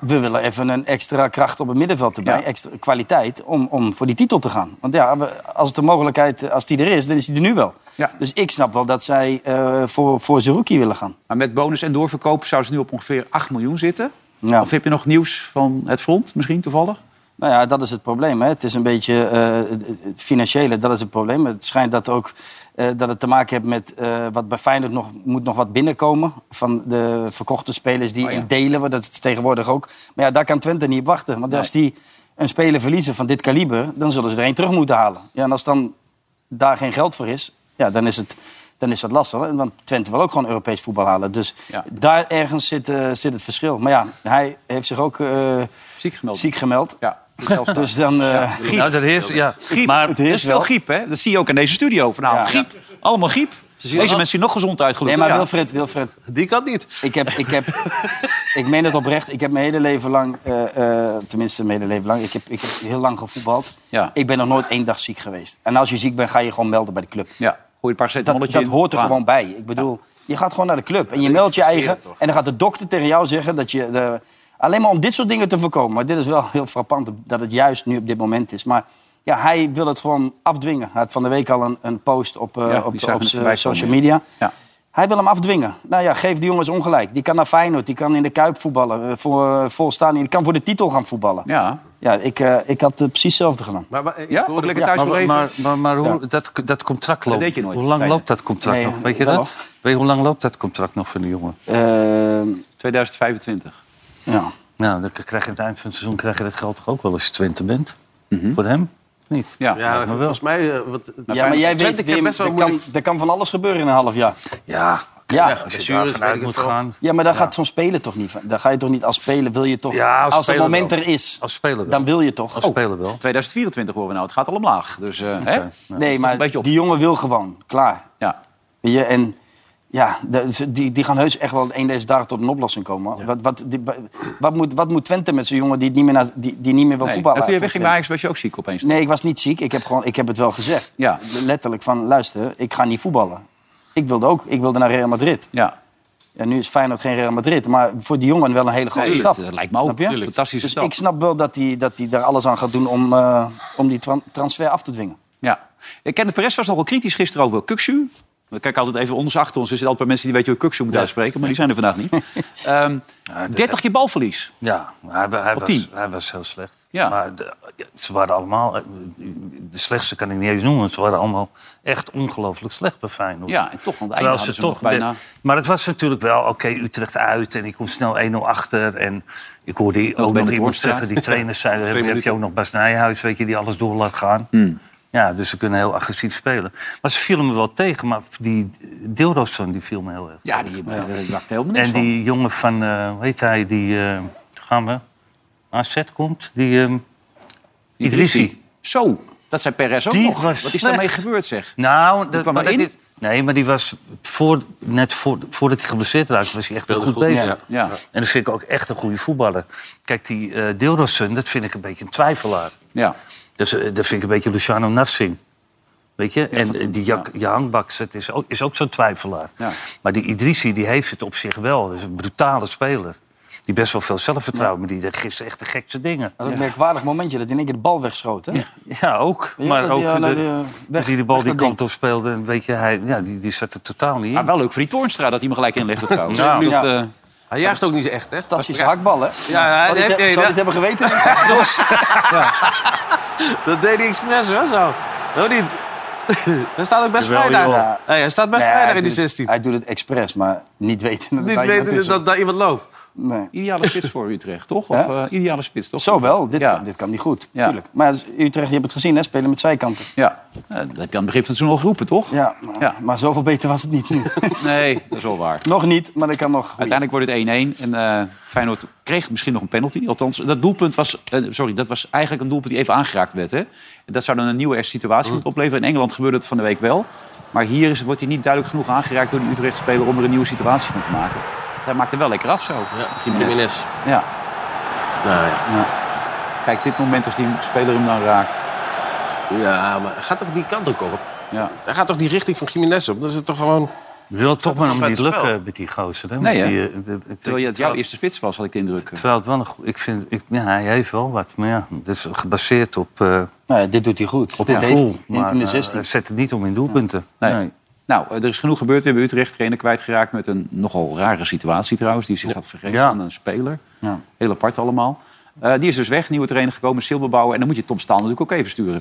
We willen even een extra kracht op het middenveld erbij, extra kwaliteit... Om, om voor die titel te gaan. Want ja, we- als het de mogelijkheid, eh, als die er is, dan is die er nu wel. Dus ik snap wel dat zij eh, voor, voor Zerouki willen gaan. Maar met bonus en doorverkoop zouden ze nu op ongeveer 8 miljoen zitten. Of heb je nog nieuws van het front misschien toevallig? Nou ja, dat is het probleem. Hè. Het is een beetje eh, het- het financiële, dat is het probleem. Het schijnt dat, ook, eh, dat het te maken heeft met eh, wat bij Feyenoord nog, moet nog wat binnenkomen. Van de verkochte spelers Oh die in delen, want dat is tegenwoordig ook. Maar ja, daar kan Twente niet op wachten. Want als die een speler verliezen van dit kaliber, dan zullen ze er een terug moeten halen. Ja, en als dan daar geen geld voor is, ja, dan is het... Dan is dat lastig, hè. want Twente wil ook gewoon Europees voetbal halen. Dus daar ergens zit, eh, zit het verschil. Maar ja, hij heeft zich ook eh, ziek gemeld. Ja. Dus dan... eh, griep. Nou, dat heerst, ja. Griep. Maar- het is wel griep, hè? Dat zie je ook in deze studio vanavond. Ja. Griep. Allemaal griep. Deze wel- mensen zien nog gezond uit, Nee, gelukkig. maar Ja. Wilfred, Wilfred. Die kan niet. Ik, heb, ik, heb, ik meen het oprecht. Ik heb mijn hele leven lang... eh, eh, tenminste, mijn hele leven lang. Ik heb, ik heb heel lang gevoetbald. Ja. Ik ben nog nooit één dag ziek geweest. En als je ziek bent, ga je gewoon melden bij de club. Ja, gooi een Dat, paracetamolletje dat in. hoort er Bam. gewoon bij. Ik bedoel, je gaat gewoon naar de club en je meldt je verseerd, eigen. toch? En dan gaat de dokter tegen jou zeggen dat je... eh, alleen maar om dit soort dingen te voorkomen. Maar dit is wel heel frappant dat het juist nu op dit moment is. Maar ja, hij wil het gewoon afdwingen. Hij had van de week al een, een post op, eh, Ja, op, die zagen op we zijn voorbij komen, social ja. media. Ja. Hij wil hem afdwingen. Nou ja, geef die jongens ongelijk. Die kan naar Feyenoord, die kan in de Kuip voetballen. eh, Voor, eh, vol staan, die kan voor de titel gaan voetballen. Ja. Ja, ik, eh, ik had eh, precies hetzelfde gedaan. Maar, maar, Ja? Ook lekker thuis maar, nog maar, even. maar, maar, maar hoe, Ja. dat, dat contract Dat loopt. deed je nooit. Hoe lang Nee. loopt dat contract Nee, nog? Weet je dat dat? wel. Weet je hoe lang loopt dat contract nog van de jongen? Ehm, 2025. Ja. Nou, dan krijg je aan het eind van het seizoen krijg je dat geld toch ook wel als je Twente bent. Mhm. Voor hem? Niet? Ja, maar wel. volgens mij... eh, wat, Ja, maar jij weet, Twente kent Wim, best wel er moeilijk... kan, er kan van alles gebeuren in een half jaar. Ja, ja. als je daar vanuit moet gaan. Ja, maar daar gaat zo'n speler toch niet van. Daar ga je toch niet als speler, wil je toch... Ja, als als het speler moment wel. er is, Als speler wel. dan wil je toch... Als speler wel. 2024 horen we nou. Het gaat al omlaag. Dus, eh, hè? Nee, maar die jongen wil gewoon. Klaar. Ja. Weet je, en ja, de- ze- die, die gaan heus echt wel een deze dagen tot een oplossing komen. Wat, wat, die- wat, moet, wat moet Twente met zo'n jongen die, het niet meer naar, die, die niet meer wil Nee. voetballen? En toen je Voor wegging bij Twente. Ajax was je ook ziek opeens. Nee, ik was niet ziek. Ik heb, gewoon, ik heb het wel gezegd. Ja. Letterlijk van, luister, ik ga niet voetballen. Ik wilde ook. Ik wilde naar Real Madrid. Ja. En nu is Feyenoord geen Real Madrid. Maar voor die jongen wel een hele grote Nee, stap. dat, eh, lijkt me ook. Snap je? Tuurlijk. Fantastische dus stap. ik snap wel dat hij dat hij daar alles aan gaat doen om, eh, om die tran- transfer af te dwingen. Ja. Eh, Kenneth Perez was nogal kritisch gisteren over Kuxu. We kijken altijd even ons achter ons. Er zitten altijd bij mensen die weten hoe Kuxu moet uitspreken. Maar die zijn er vandaag niet. Ehm 30 keer balverlies. Ja, hij, wa- hij, Op was, tien. hij was heel slecht. Ja. Maar de- ja, ze waren allemaal... eh, De slechtste kan ik niet eens noemen. Ze waren allemaal echt ongelooflijk slecht bij Feyenoord. Ja, en toch, want Terwijl eindelijk hadden ze toch bijna... de- maar het was natuurlijk wel, oké, Utrecht uit en ik kom snel 1-0 achter. En ik bij hoorde ook nog de iemand Dorpstra. zeggen, die trainers zeiden... Twee heb, heb je minuten. Hmm. ook nog Bas Nijhuis, weet je, die alles door laat gaan. Ja, dus ze kunnen heel agressief spelen. Maar ze vielen me wel tegen, maar die Dilrosson die viel me heel erg. Ja, die eh, dacht helemaal niks En die jongen van, eh, hoe heet hij, die eh gaan we, AZ komt, die ehm Idrissi. Idrissi. Zo, dat zijn Perez ook Die nog. was Wat is slecht. daarmee gebeurd, zeg? Nou, Die dat, kwam maar erin? dat- nee, maar die was voor, net voor, voordat hij geblesseerd raakte, was hij echt wel goed, Speelde goed, bezig. ja. Ja. En dat vind ik ook echt een goede voetballer. Kijk, die eh Deelrossen, dat vind ik een beetje een twijfelaar. Ja. Dus, eh, dat vind ik een beetje Luciano Nassim. Weet je? en eh, die Jak- Jahangbaks, dat is ook, is ook zo'n twijfelaar. Ja. Maar die Idrissi, die heeft het op zich wel. Dat is een brutale speler. Die best wel veel zelfvertrouwen, maar die deed gisteren echt de gekste dingen. Dat is een merkwaardig momentje dat hij in één keer de bal wegschoot. Hè? Ja, nou, ook. Maar ook de, eh, dat hij de bal die kant op speelde, en weet je, hij, ja, die, die zat er totaal niet in. Nou, Maar wel leuk voor die Toornstra dat hij hem gelijk inlegde trouwens. Ja. Dat, Ja. eh, Hij jaagt ook niet zo echt, hè? Fantastische hakbal, hè? Ja, hij Zou dit, heeft- zou nee, dit dat- hebben geweten? Los. Dat deed hij expres, hoor, zo. Dat niet. Hij staat ook best vrij daar. Nee, hij staat best vrij daar in die 16. Hij doet het expres, maar niet weten dat Niet daar iemand weten is. dat daar iemand loopt. Nee. Ideale spits voor Utrecht, toch? Of Ja. eh, ideale spits, toch? Zo wel, dit, kan, dit kan niet goed. Ja. Tuurlijk. Maar dus Utrecht, je hebt het gezien, hè? spelen met twee kanten. Ja, Eh, dat heb je aan het begin van het seizoen al geroepen, toch? Ja, maar, Ja. maar zoveel beter was het niet nu. Nee, dat is wel waar. nog niet, maar dat kan nog. groeien. Uiteindelijk wordt het 1-1 en eh, Feyenoord kreeg misschien nog een penalty. Althans, dat doelpunt was, eh, sorry, dat was eigenlijk een doelpunt die even aangeraakt werd. Hè? En dat zou dan een nieuwe Mm. situatie moeten opleveren. In Engeland gebeurde het van de week wel. Maar hier is, wordt hij niet duidelijk genoeg aangeraakt door die Utrecht-speler om er een nieuwe situatie van te maken. Hij maakte wel lekker af zo. Ja, Jiménez. Ja. Nou Ja. Kijk, dit moment als die speler hem dan raakt. Ja, maar hij gaat toch die kant ook op? Ja. Hij gaat toch die richting van Jiménez op? Dat is het toch gewoon... Wil het toch maar nog nog niet lukken met die gozer. Hè? Nee, Met hè? die, eh, de- het- Terwijl het jouw eerste spits was, had ik de indruk. Terwijl het wel een goe- ik vind, ik, eh, ja, hij heeft wel wat, maar ja, het is gebaseerd op. eh Nou dit doet hij goed. Op Dit heeft gevoel. hij in- maar, in de eh, 16. hij zet het niet om in doelpunten. Nee. Nou, eh, er is genoeg gebeurd. We hebben Utrecht trainer kwijtgeraakt met een nogal rare situatie trouwens. Die zich had vergeten aan een speler. Ja. Heel apart allemaal. Eh, die is dus weg, nieuwe trainer gekomen, Silberbouwer. En dan moet je Tom Staal natuurlijk ook even sturen.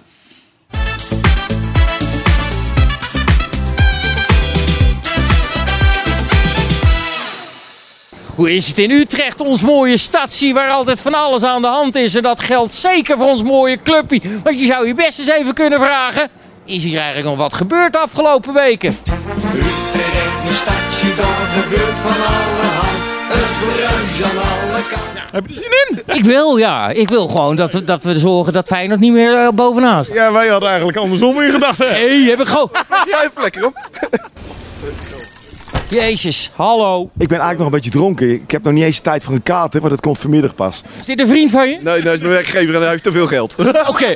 Hoe is het in Utrecht, ons mooie stadsie waar altijd van alles aan de hand is? En dat geldt zeker voor ons mooie clubje. Want je zou je best eens even kunnen vragen: is hier eigenlijk nog wat gebeurd de afgelopen weken? Utrecht, mijn stadje, daar gebeurt van alle hand. Het bruis aan alle kanten. Heb je er zin in? Ik wil, ja. Ik wil gewoon dat, we- dat we zorgen dat Feyenoord niet meer eh, bovenaan staat. Ja, wij hadden eigenlijk andersom in gedachten. Nee, heb ik gewoon... Jij even lekker op. Jezus, hallo. Ik ben eigenlijk nog een beetje dronken. Ik heb nog niet eens tijd voor een kater, maar dat komt vanmiddag pas. Is dit een vriend van je? Nee, dat is mijn werkgever en hij heeft te veel geld. Oké.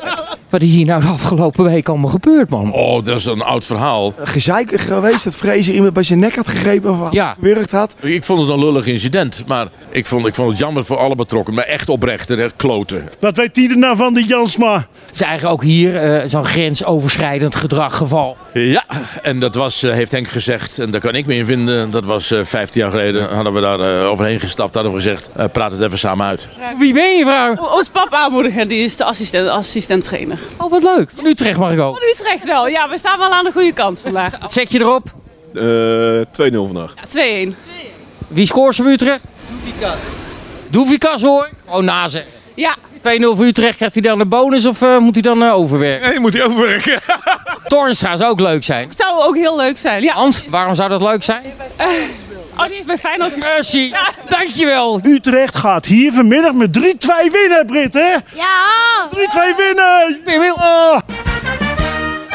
Wat is hier nou de afgelopen week allemaal gebeurd, man? Oh, dat is een oud verhaal. Gezeik geweest dat Fraser iemand bij zijn nek had gegrepen of gewurgd had. Ik vond het een lullig incident, maar ik vond, ik vond het jammer voor alle betrokkenen. Maar echt oprecht, en echt kloten. Wat weet die er nou van, die Jansma? Het is eigenlijk ook hier eh, zo'n grensoverschrijdend gedraggeval. Ja, en dat was, eh, heeft Henk gezegd, en daar kan ik mee in vinden. Dat was eh 15 jaar geleden, hadden we daar eh, overheen gestapt. Hadden we gezegd, eh, praat het even samen uit. Wie ben je, vrouw? Oh, Ons papa aanmoedigen, die is de assistent, assistent trainer. Oh, wat leuk. Van Utrecht mag ik ook. Van Utrecht wel, ja, we staan wel aan de goede kant vandaag. Zet je erop. Eh, 2-0 vandaag. Ja, 2-1. Wie scoort ze voor Utrecht? Doevikas hoor. Oh, nazen. Ja. 2-0 voor Utrecht. Krijgt hij dan een bonus of eh, moet hij dan eh, overwerken? Nee, moet hij overwerken. Tornstra zou ook leuk zijn. Zou ook heel leuk zijn, ja. Hans, waarom zou dat leuk zijn? Eh, oh, die heeft bij Feyenoord... Mercy, dankjewel. Utrecht gaat hier vanmiddag met 3-2 winnen, Britt, hè? Ja! 3-2 winnen! Oh.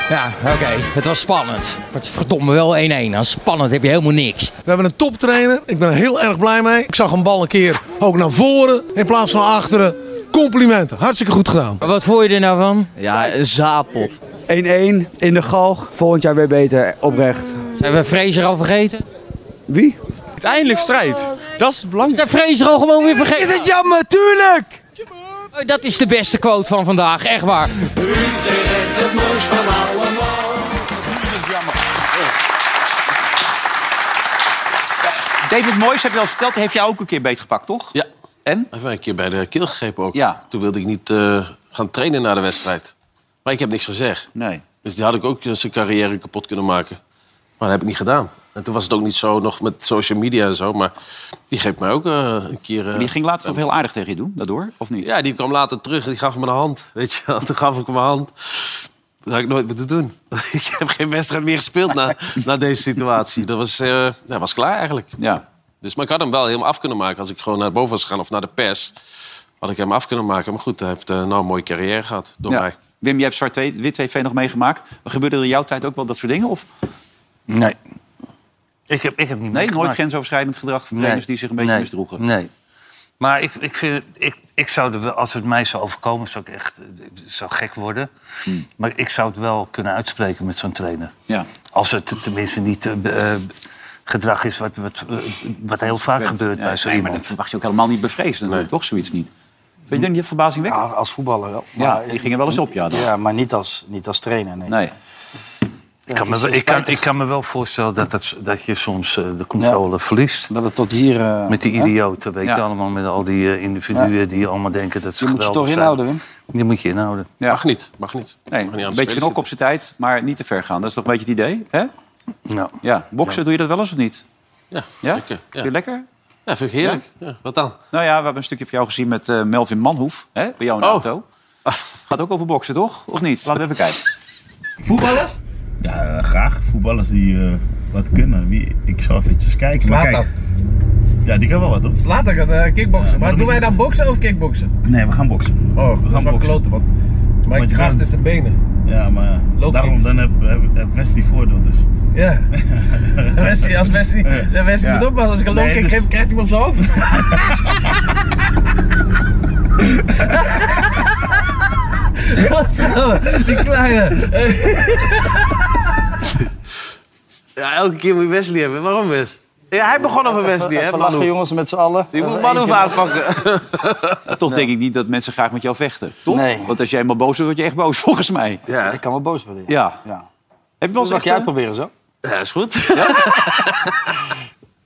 Ja, oké. Het was spannend. Maar het is verdomme wel 1-1. Aan spannend heb je helemaal niks. We hebben een toptrainer. Ik ben er heel erg blij mee. Ik zag een bal een keer ook naar voren in plaats van naar achteren. Complimenten. Hartstikke goed gedaan. Maar wat vond je er nou van? Ja, een zaapot. 1-1 in de galg. Volgend jaar weer beter, oprecht. Zijn we Fraser al vergeten? Wie? Uiteindelijk strijd. Dat is het belangrijkste. Zijn Fraser al gewoon weer vergeten? Is het jammer, tuurlijk! Dat is de beste quote van vandaag, echt waar. Utrecht, het moois van allemaal. David Moyes, heb je al verteld, heeft jou ook een keer beetgepakt, toch? Ja. En? Even een keer bij de keel gegrepen ook. Ja. Toen wilde ik niet eh, gaan trainen na de wedstrijd. Maar ik heb niks gezegd. Nee. Dus die had ik ook eh, zijn carrière kapot kunnen maken. Maar dat heb ik niet gedaan. En toen was het ook niet zo nog met social media en zo. Maar die greep mij ook eh, een keer... eh, Maar die ging later toch heel aardig tegen je doen, daardoor? Of niet? Ja, die kwam later terug en die gaf me een hand. Weet je wel, toen gaf ik hem een hand. Dat had ik nooit moeten doen. ik heb geen wedstrijd meer gespeeld na, na deze situatie. Dat was, eh, ja, was klaar eigenlijk. Ja. Dus, maar ik had hem wel helemaal af kunnen maken. Als ik gewoon naar boven was gegaan of naar de pers... had ik hem af kunnen maken. Maar goed, hij heeft eh, nou een mooie carrière gehad door Ja. mij. Wim, jij hebt Zwart-Wit TV nog meegemaakt. Gebeurde er in jouw tijd ook wel dat soort dingen? Of? Nee. Ik heb, ik heb niet Nee, nooit meegemaakt. grensoverschrijdend gedrag van Nee. trainers die zich een beetje Nee. misdroegen. Nee. Maar ik, ik vind, ik, ik zou er wel, als het mij zou overkomen, zou ik echt eh, zou gek worden. Maar ik zou het wel kunnen uitspreken met zo'n trainer. Hmm. Ja. Als het tenminste niet eh, be- eh, gedrag is wat, wat, eh, wat heel vaak gebeurt bij nee, zo maar iemand. dat verwacht je ook helemaal niet bevreesd. natuurlijk, Toch zoiets niet. Vind je dat niet verbazingwekkend? Hm. Ja, als voetballer wel. Ja, die gingen wel eens op, ja, dan. Ja, maar niet als, niet als trainer, nee. nee. Ik kan, het is me, heel ik, kan, spijtig. ik kan me wel voorstellen dat, dat, dat je soms eh, de controle verliest. Dat het tot hier... eh, Met die hè? idioten, weet Ja. je allemaal. Met al die eh, individuen die allemaal denken dat ze Je moet ze toch geweldig zijn. inhouden, Wim? Die moet je inhouden. Mag niet, mag niet. Nee, Mag niet een aan de beetje spelers knok op zijn tijd, maar niet te ver gaan. Dat is toch een beetje het idee, hè? Ja. Ja, boksen doe je dat wel eens of niet? Ja, Ja? zeker. Ja. Vind je het lekker? Ja, vind ik heerlijk. Ja? wat dan? Nou ja, we hebben een stukje van jou gezien met eh, Melvin Manhoef, hè? Bij jou in de Oh. auto. Gaat ook over boksen, toch? Of niet? Laten we even kijken. Voetballers? Ja, eh, graag. Voetballers die eh, wat kunnen. Wie, ik zal eventjes kijken. Maar Zlatan. kijk, ja, die kan wel wat. Dat is... Later gaan eh, kickboksen. Ja, maar maar dan doen moet wij je- dan boksen of kickboksen? Nee, we gaan boksen. Oh, we dat is gaan wel kloten, want mijn Want je kracht gaat- is de benen. Ja, maar eh, daarom dan heb, heb, heb Wesley voordeel dus. Ja. Wesley, als Wesley, dan Wesley Ja. moet oppassen. Als ik een low Nee, kick dus- geef, krijgt hij hem op zijn hoofd. Wat zo, die kleine. Ja, elke keer moet je Wesley hebben. Waarom, Wes? Ja, hij begon over Wesley, hè, Even Manu? lachen, jongens, met z'n allen. Die Oh, moet Even Manu één keer- aanpakken. Toch denk ik niet dat mensen graag met jou vechten, toch? Want als jij eenmaal boos wordt, word je echt boos, volgens mij. Ja. Eh, Ik kan wel boos worden. Ja. Heb je wel Dat eens mag echt, jij eh, proberen zo. Ja, is goed.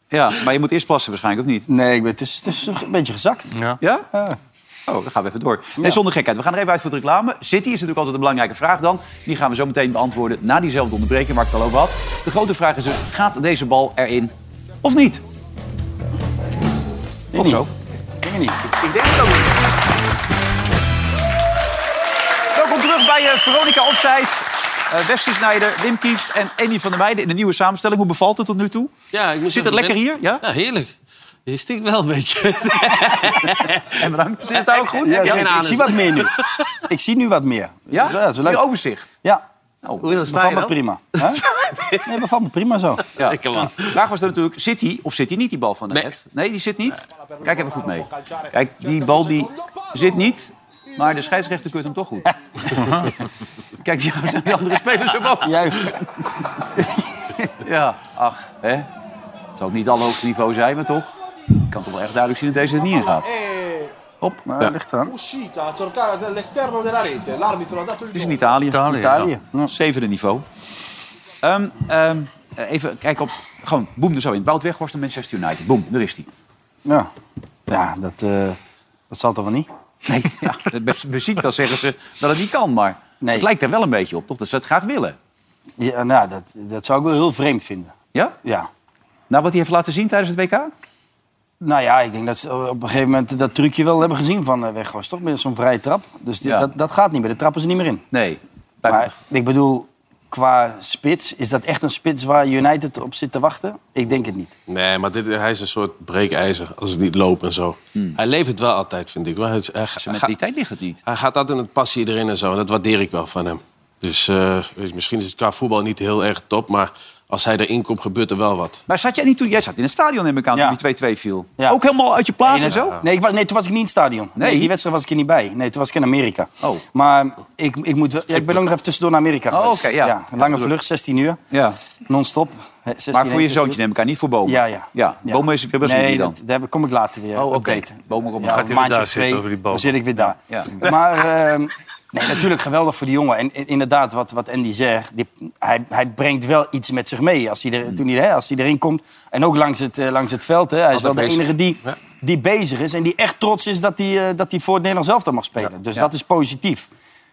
Ja, maar je moet eerst plassen waarschijnlijk, of niet? Nee, ik ben, het, is, het is een beetje gezakt. Ja? Oh, dan gaan we even door. Nee, zonder gekheid. We gaan er even uit voor de reclame. City is natuurlijk altijd een belangrijke vraag dan. Die gaan we zo meteen beantwoorden na diezelfde onderbreking waar ik het al over had. De grote vraag is dus, gaat deze bal erin of niet? Tot zo. Dingen niet. Ik denk het ook niet. Welkom terug bij eh, Veronica Opzijd. Eh Wesley Snijder, Wim Kieft en Andy van der Meijden in de nieuwe samenstelling. Hoe bevalt het tot nu toe? Ja, ik moet Zit het zeggen, lekker ik hier? ben- Ja? heerlijk. Je stinkt wel een beetje. en bedankt. Zit het daar ook goed? Ja, Heb jij zeker. geen ik zie anus? wat meer nu. ik zie nu wat meer. Ja? Dus, dat is leuk. Meer overzicht? Oh. Ja. hoe dan sta Bevalt je me dan? prima. Hè? nee, bevalt me prima zo. Ja. vraag was dan natuurlijk, zit hij of zit hij niet die bal van de net? Nee, die zit niet. Kijk even goed mee. Kijk, die bal die zit niet, maar de scheidsrechter keurt hem toch goed. Kijk, die zijn die andere spelers hem ook. Ja, ach, hè. Het zal ook niet al hoogste niveau zijn, maar toch. Ik kan toch wel echt duidelijk zien dat deze er niet in gaat. Op. Nou, ligt eraan. Eh, Uscita a toccare all'esterno della rete, l'arbitro ha dato Het is in Italië. Italië. Italië, Zevende niveau. Ehm, ehm, even kijken op. Gewoon, boem er zo in. Wout Weghorst en Manchester United. Boem, daar is hij. Ja, ja dat, eh, dat zal toch wel niet? Nee, ja, muziek, dan zeggen ze dat het niet kan. Maar het lijkt er wel een beetje op, toch? Dat ze het graag willen. Ja, nou, dat, dat zou ik wel heel vreemd vinden. Ja? Ja. Nou, wat hij heeft laten zien tijdens het WK? Nou ja, ik denk dat ze op een gegeven moment dat trucje wel hebben gezien van eh, Weghorst, toch? Met zo'n vrije trap. Dus die- Ja. dat, dat gaat niet meer. De trappen ze niet meer in. Nee. Maar ik bedoel, qua spits, is dat echt een spits waar United op zit te wachten? Ik denk het niet. Nee, maar dit, hij is een soort breekijzer als het niet loopt en zo. Hmm. Hij levert wel altijd, vind ik. Maar hij, hij, met die tijd ligt het niet. Hij gaat altijd met passie erin en zo. En dat waardeer ik wel van hem. Dus eh, dus misschien is het qua voetbal niet heel erg top. Maar als hij erin komt, gebeurt er wel wat. Maar zat jij niet toen... Jij zat in het stadion, neem ik aan, toen die 2-2 viel. Ook helemaal uit je plaat Nee, en nee, zo? Nee, ik was, nee, toen was ik niet in het stadion. Nee. die wedstrijd was ik er niet bij. Nee, toen was ik in Amerika. Oh. Maar ik, ik, moet wel, ja, ik ben ook nog even tussendoor naar Amerika geweest. oké, ja. Ja, lange natuurlijk. vlucht, 16 uur. Ja. Non-stop. Hè, 16, Maar voor je 16 uur. zoontje neem ik aan, niet voor Bomen. Ja, ja. Ja, Bomen is weer Brazilië nee, dan. dat- daar kom ik later weer Oh, oké. updaten. Bomen komt Ja, nog. een maandje of twee, dan zit ik weer daar. Ja. Maar ehm, nee, natuurlijk geweldig voor die jongen. En i- inderdaad, wat, wat Andy zegt, die, hij, hij brengt wel iets met zich mee als hij, er, toen hij, hè, als hij erin komt. En ook langs het, eh, langs het veld. Hè. Hij is wel Altijd de bezig. enige die, die bezig is en die echt trots is dat hij, eh, dat hij voor het Nederlands elftal mag spelen. Dus dat is positief.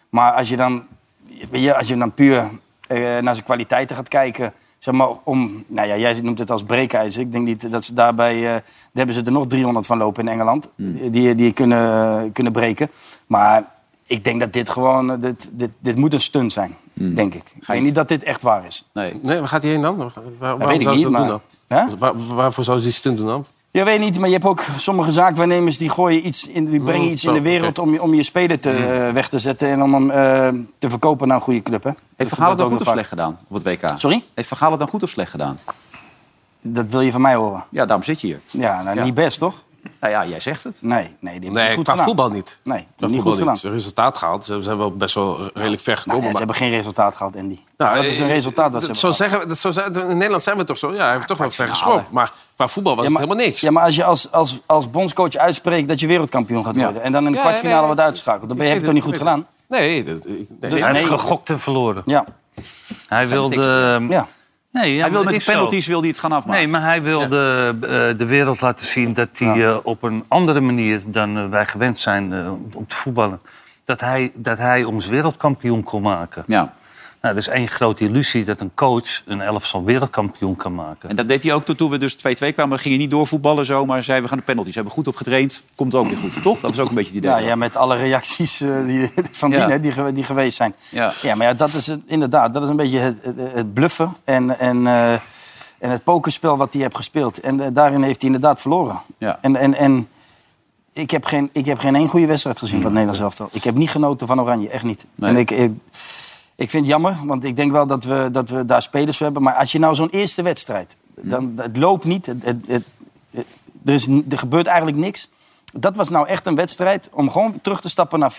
Maar als je dan, weet je, als je dan puur eh, naar zijn kwaliteiten gaat kijken... Zeg maar om, nou ja, jij noemt het als breekijzer. Ik denk niet dat ze daarbij... eh, daar Hmm. eh, hebben ze er nog 300 van lopen in Engeland. Die, die kunnen, kunnen breken. Maar Ik denk dat dit gewoon... eh, Dit, dit, dit moet een stunt zijn, Hmm. denk ik. Ik denk niet dat dit echt waar is. Nee. Nee, waar gaat hij heen dan? Waar, waarom weet ik zou ze niet, dat doen maar- dan? Waar- waarvoor zou ze die stunt doen dan? Je weet niet, maar je hebt ook sommige zaakwaarnemers die gooien iets in, die brengen Mm, Oh, iets zo, in de wereld om, je, om je speler te, eh, weg te zetten en om hem eh, te verkopen naar een goede club. Hè? Heeft Van Gaal het dan goed of slecht gedaan op het WK? Sorry? Heeft Van Gaal het dan goed of slecht gedaan? Dat wil je van mij horen. Ja, daarom zit je hier. Ja, nou, niet best toch? Nou ja, jij zegt het. Nee, nee, die Nee, goed qua gedaan. voetbal niet. Nee, die Qua hebben niet voetbal goed gedaan. niet. Ze hebben resultaat gehaald. Ze ze hebben wel best wel redelijk ver Nou, gekomen. ja, ze maar- hebben geen resultaat gehad, Andy. dat is een eh, resultaat dat dat ze hebben zo zeggen, we- dat zo, zeggen- in Nederland zijn we toch zo. Ja, hij heeft toch wel ver geschopt. Maar qua voetbal was Ja, maar- het helemaal niks. Ja, maar als je als, als, als bondscoach uitspreekt dat je wereldkampioen gaat worden... en dan in de Ja, kwartfinale nee, wordt uitgeschakeld, dan ben je, heb je Ik toch weet niet goed het, gedaan? ik weet het. Nee, dat, ik, nee. Dus hij nee. heeft gegokt en verloren. Ja. Hij wilde... Ja. Nee, ja, hij wil maar met dat de is zo. penalties wil hij het gaan afmaken. Nee, maar hij wilde eh, de wereld laten zien dat hij eh, op een andere manier dan eh, wij gewend zijn eh, om- om te voetballen, dat hij, dat hij ons wereldkampioen kon maken. Ja. Nou, dat is één grote illusie dat een coach een elftal wereldkampioen kan maken. En dat deed hij ook tot toen we dus 2-2 kwamen. We gingen niet doorvoetballen zo, maar zeiden we gaan de penalties. Hebben we goed op getraind. Komt ook weer goed, toch? Dat was ook een beetje het idee. Ja, ja, met alle reacties eh, die, van Ja. die, hè, die, ge- die geweest zijn. Ja. maar ja, dat is het- inderdaad, dat is een beetje het, het- het bluffen en, en, eh, en het pokerspel wat hij heeft gespeeld. En eh, daarin heeft hij inderdaad verloren. Ja. En, en, en ik heb geen, ik heb geen één goede wedstrijd gezien van het Nederlands elftal. Ik heb niet genoten van Oranje, echt niet. Nee. En ik, ik, ik vind het jammer, want ik denk wel dat we, dat we daar spelers voor hebben. Maar als je nou zo'n eerste wedstrijd, Hmm. dan, het loopt niet, het, het, het- het- er, is, ni- er gebeurt eigenlijk niks. Dat was nou echt een wedstrijd om gewoon terug te stappen naar 4-3-3.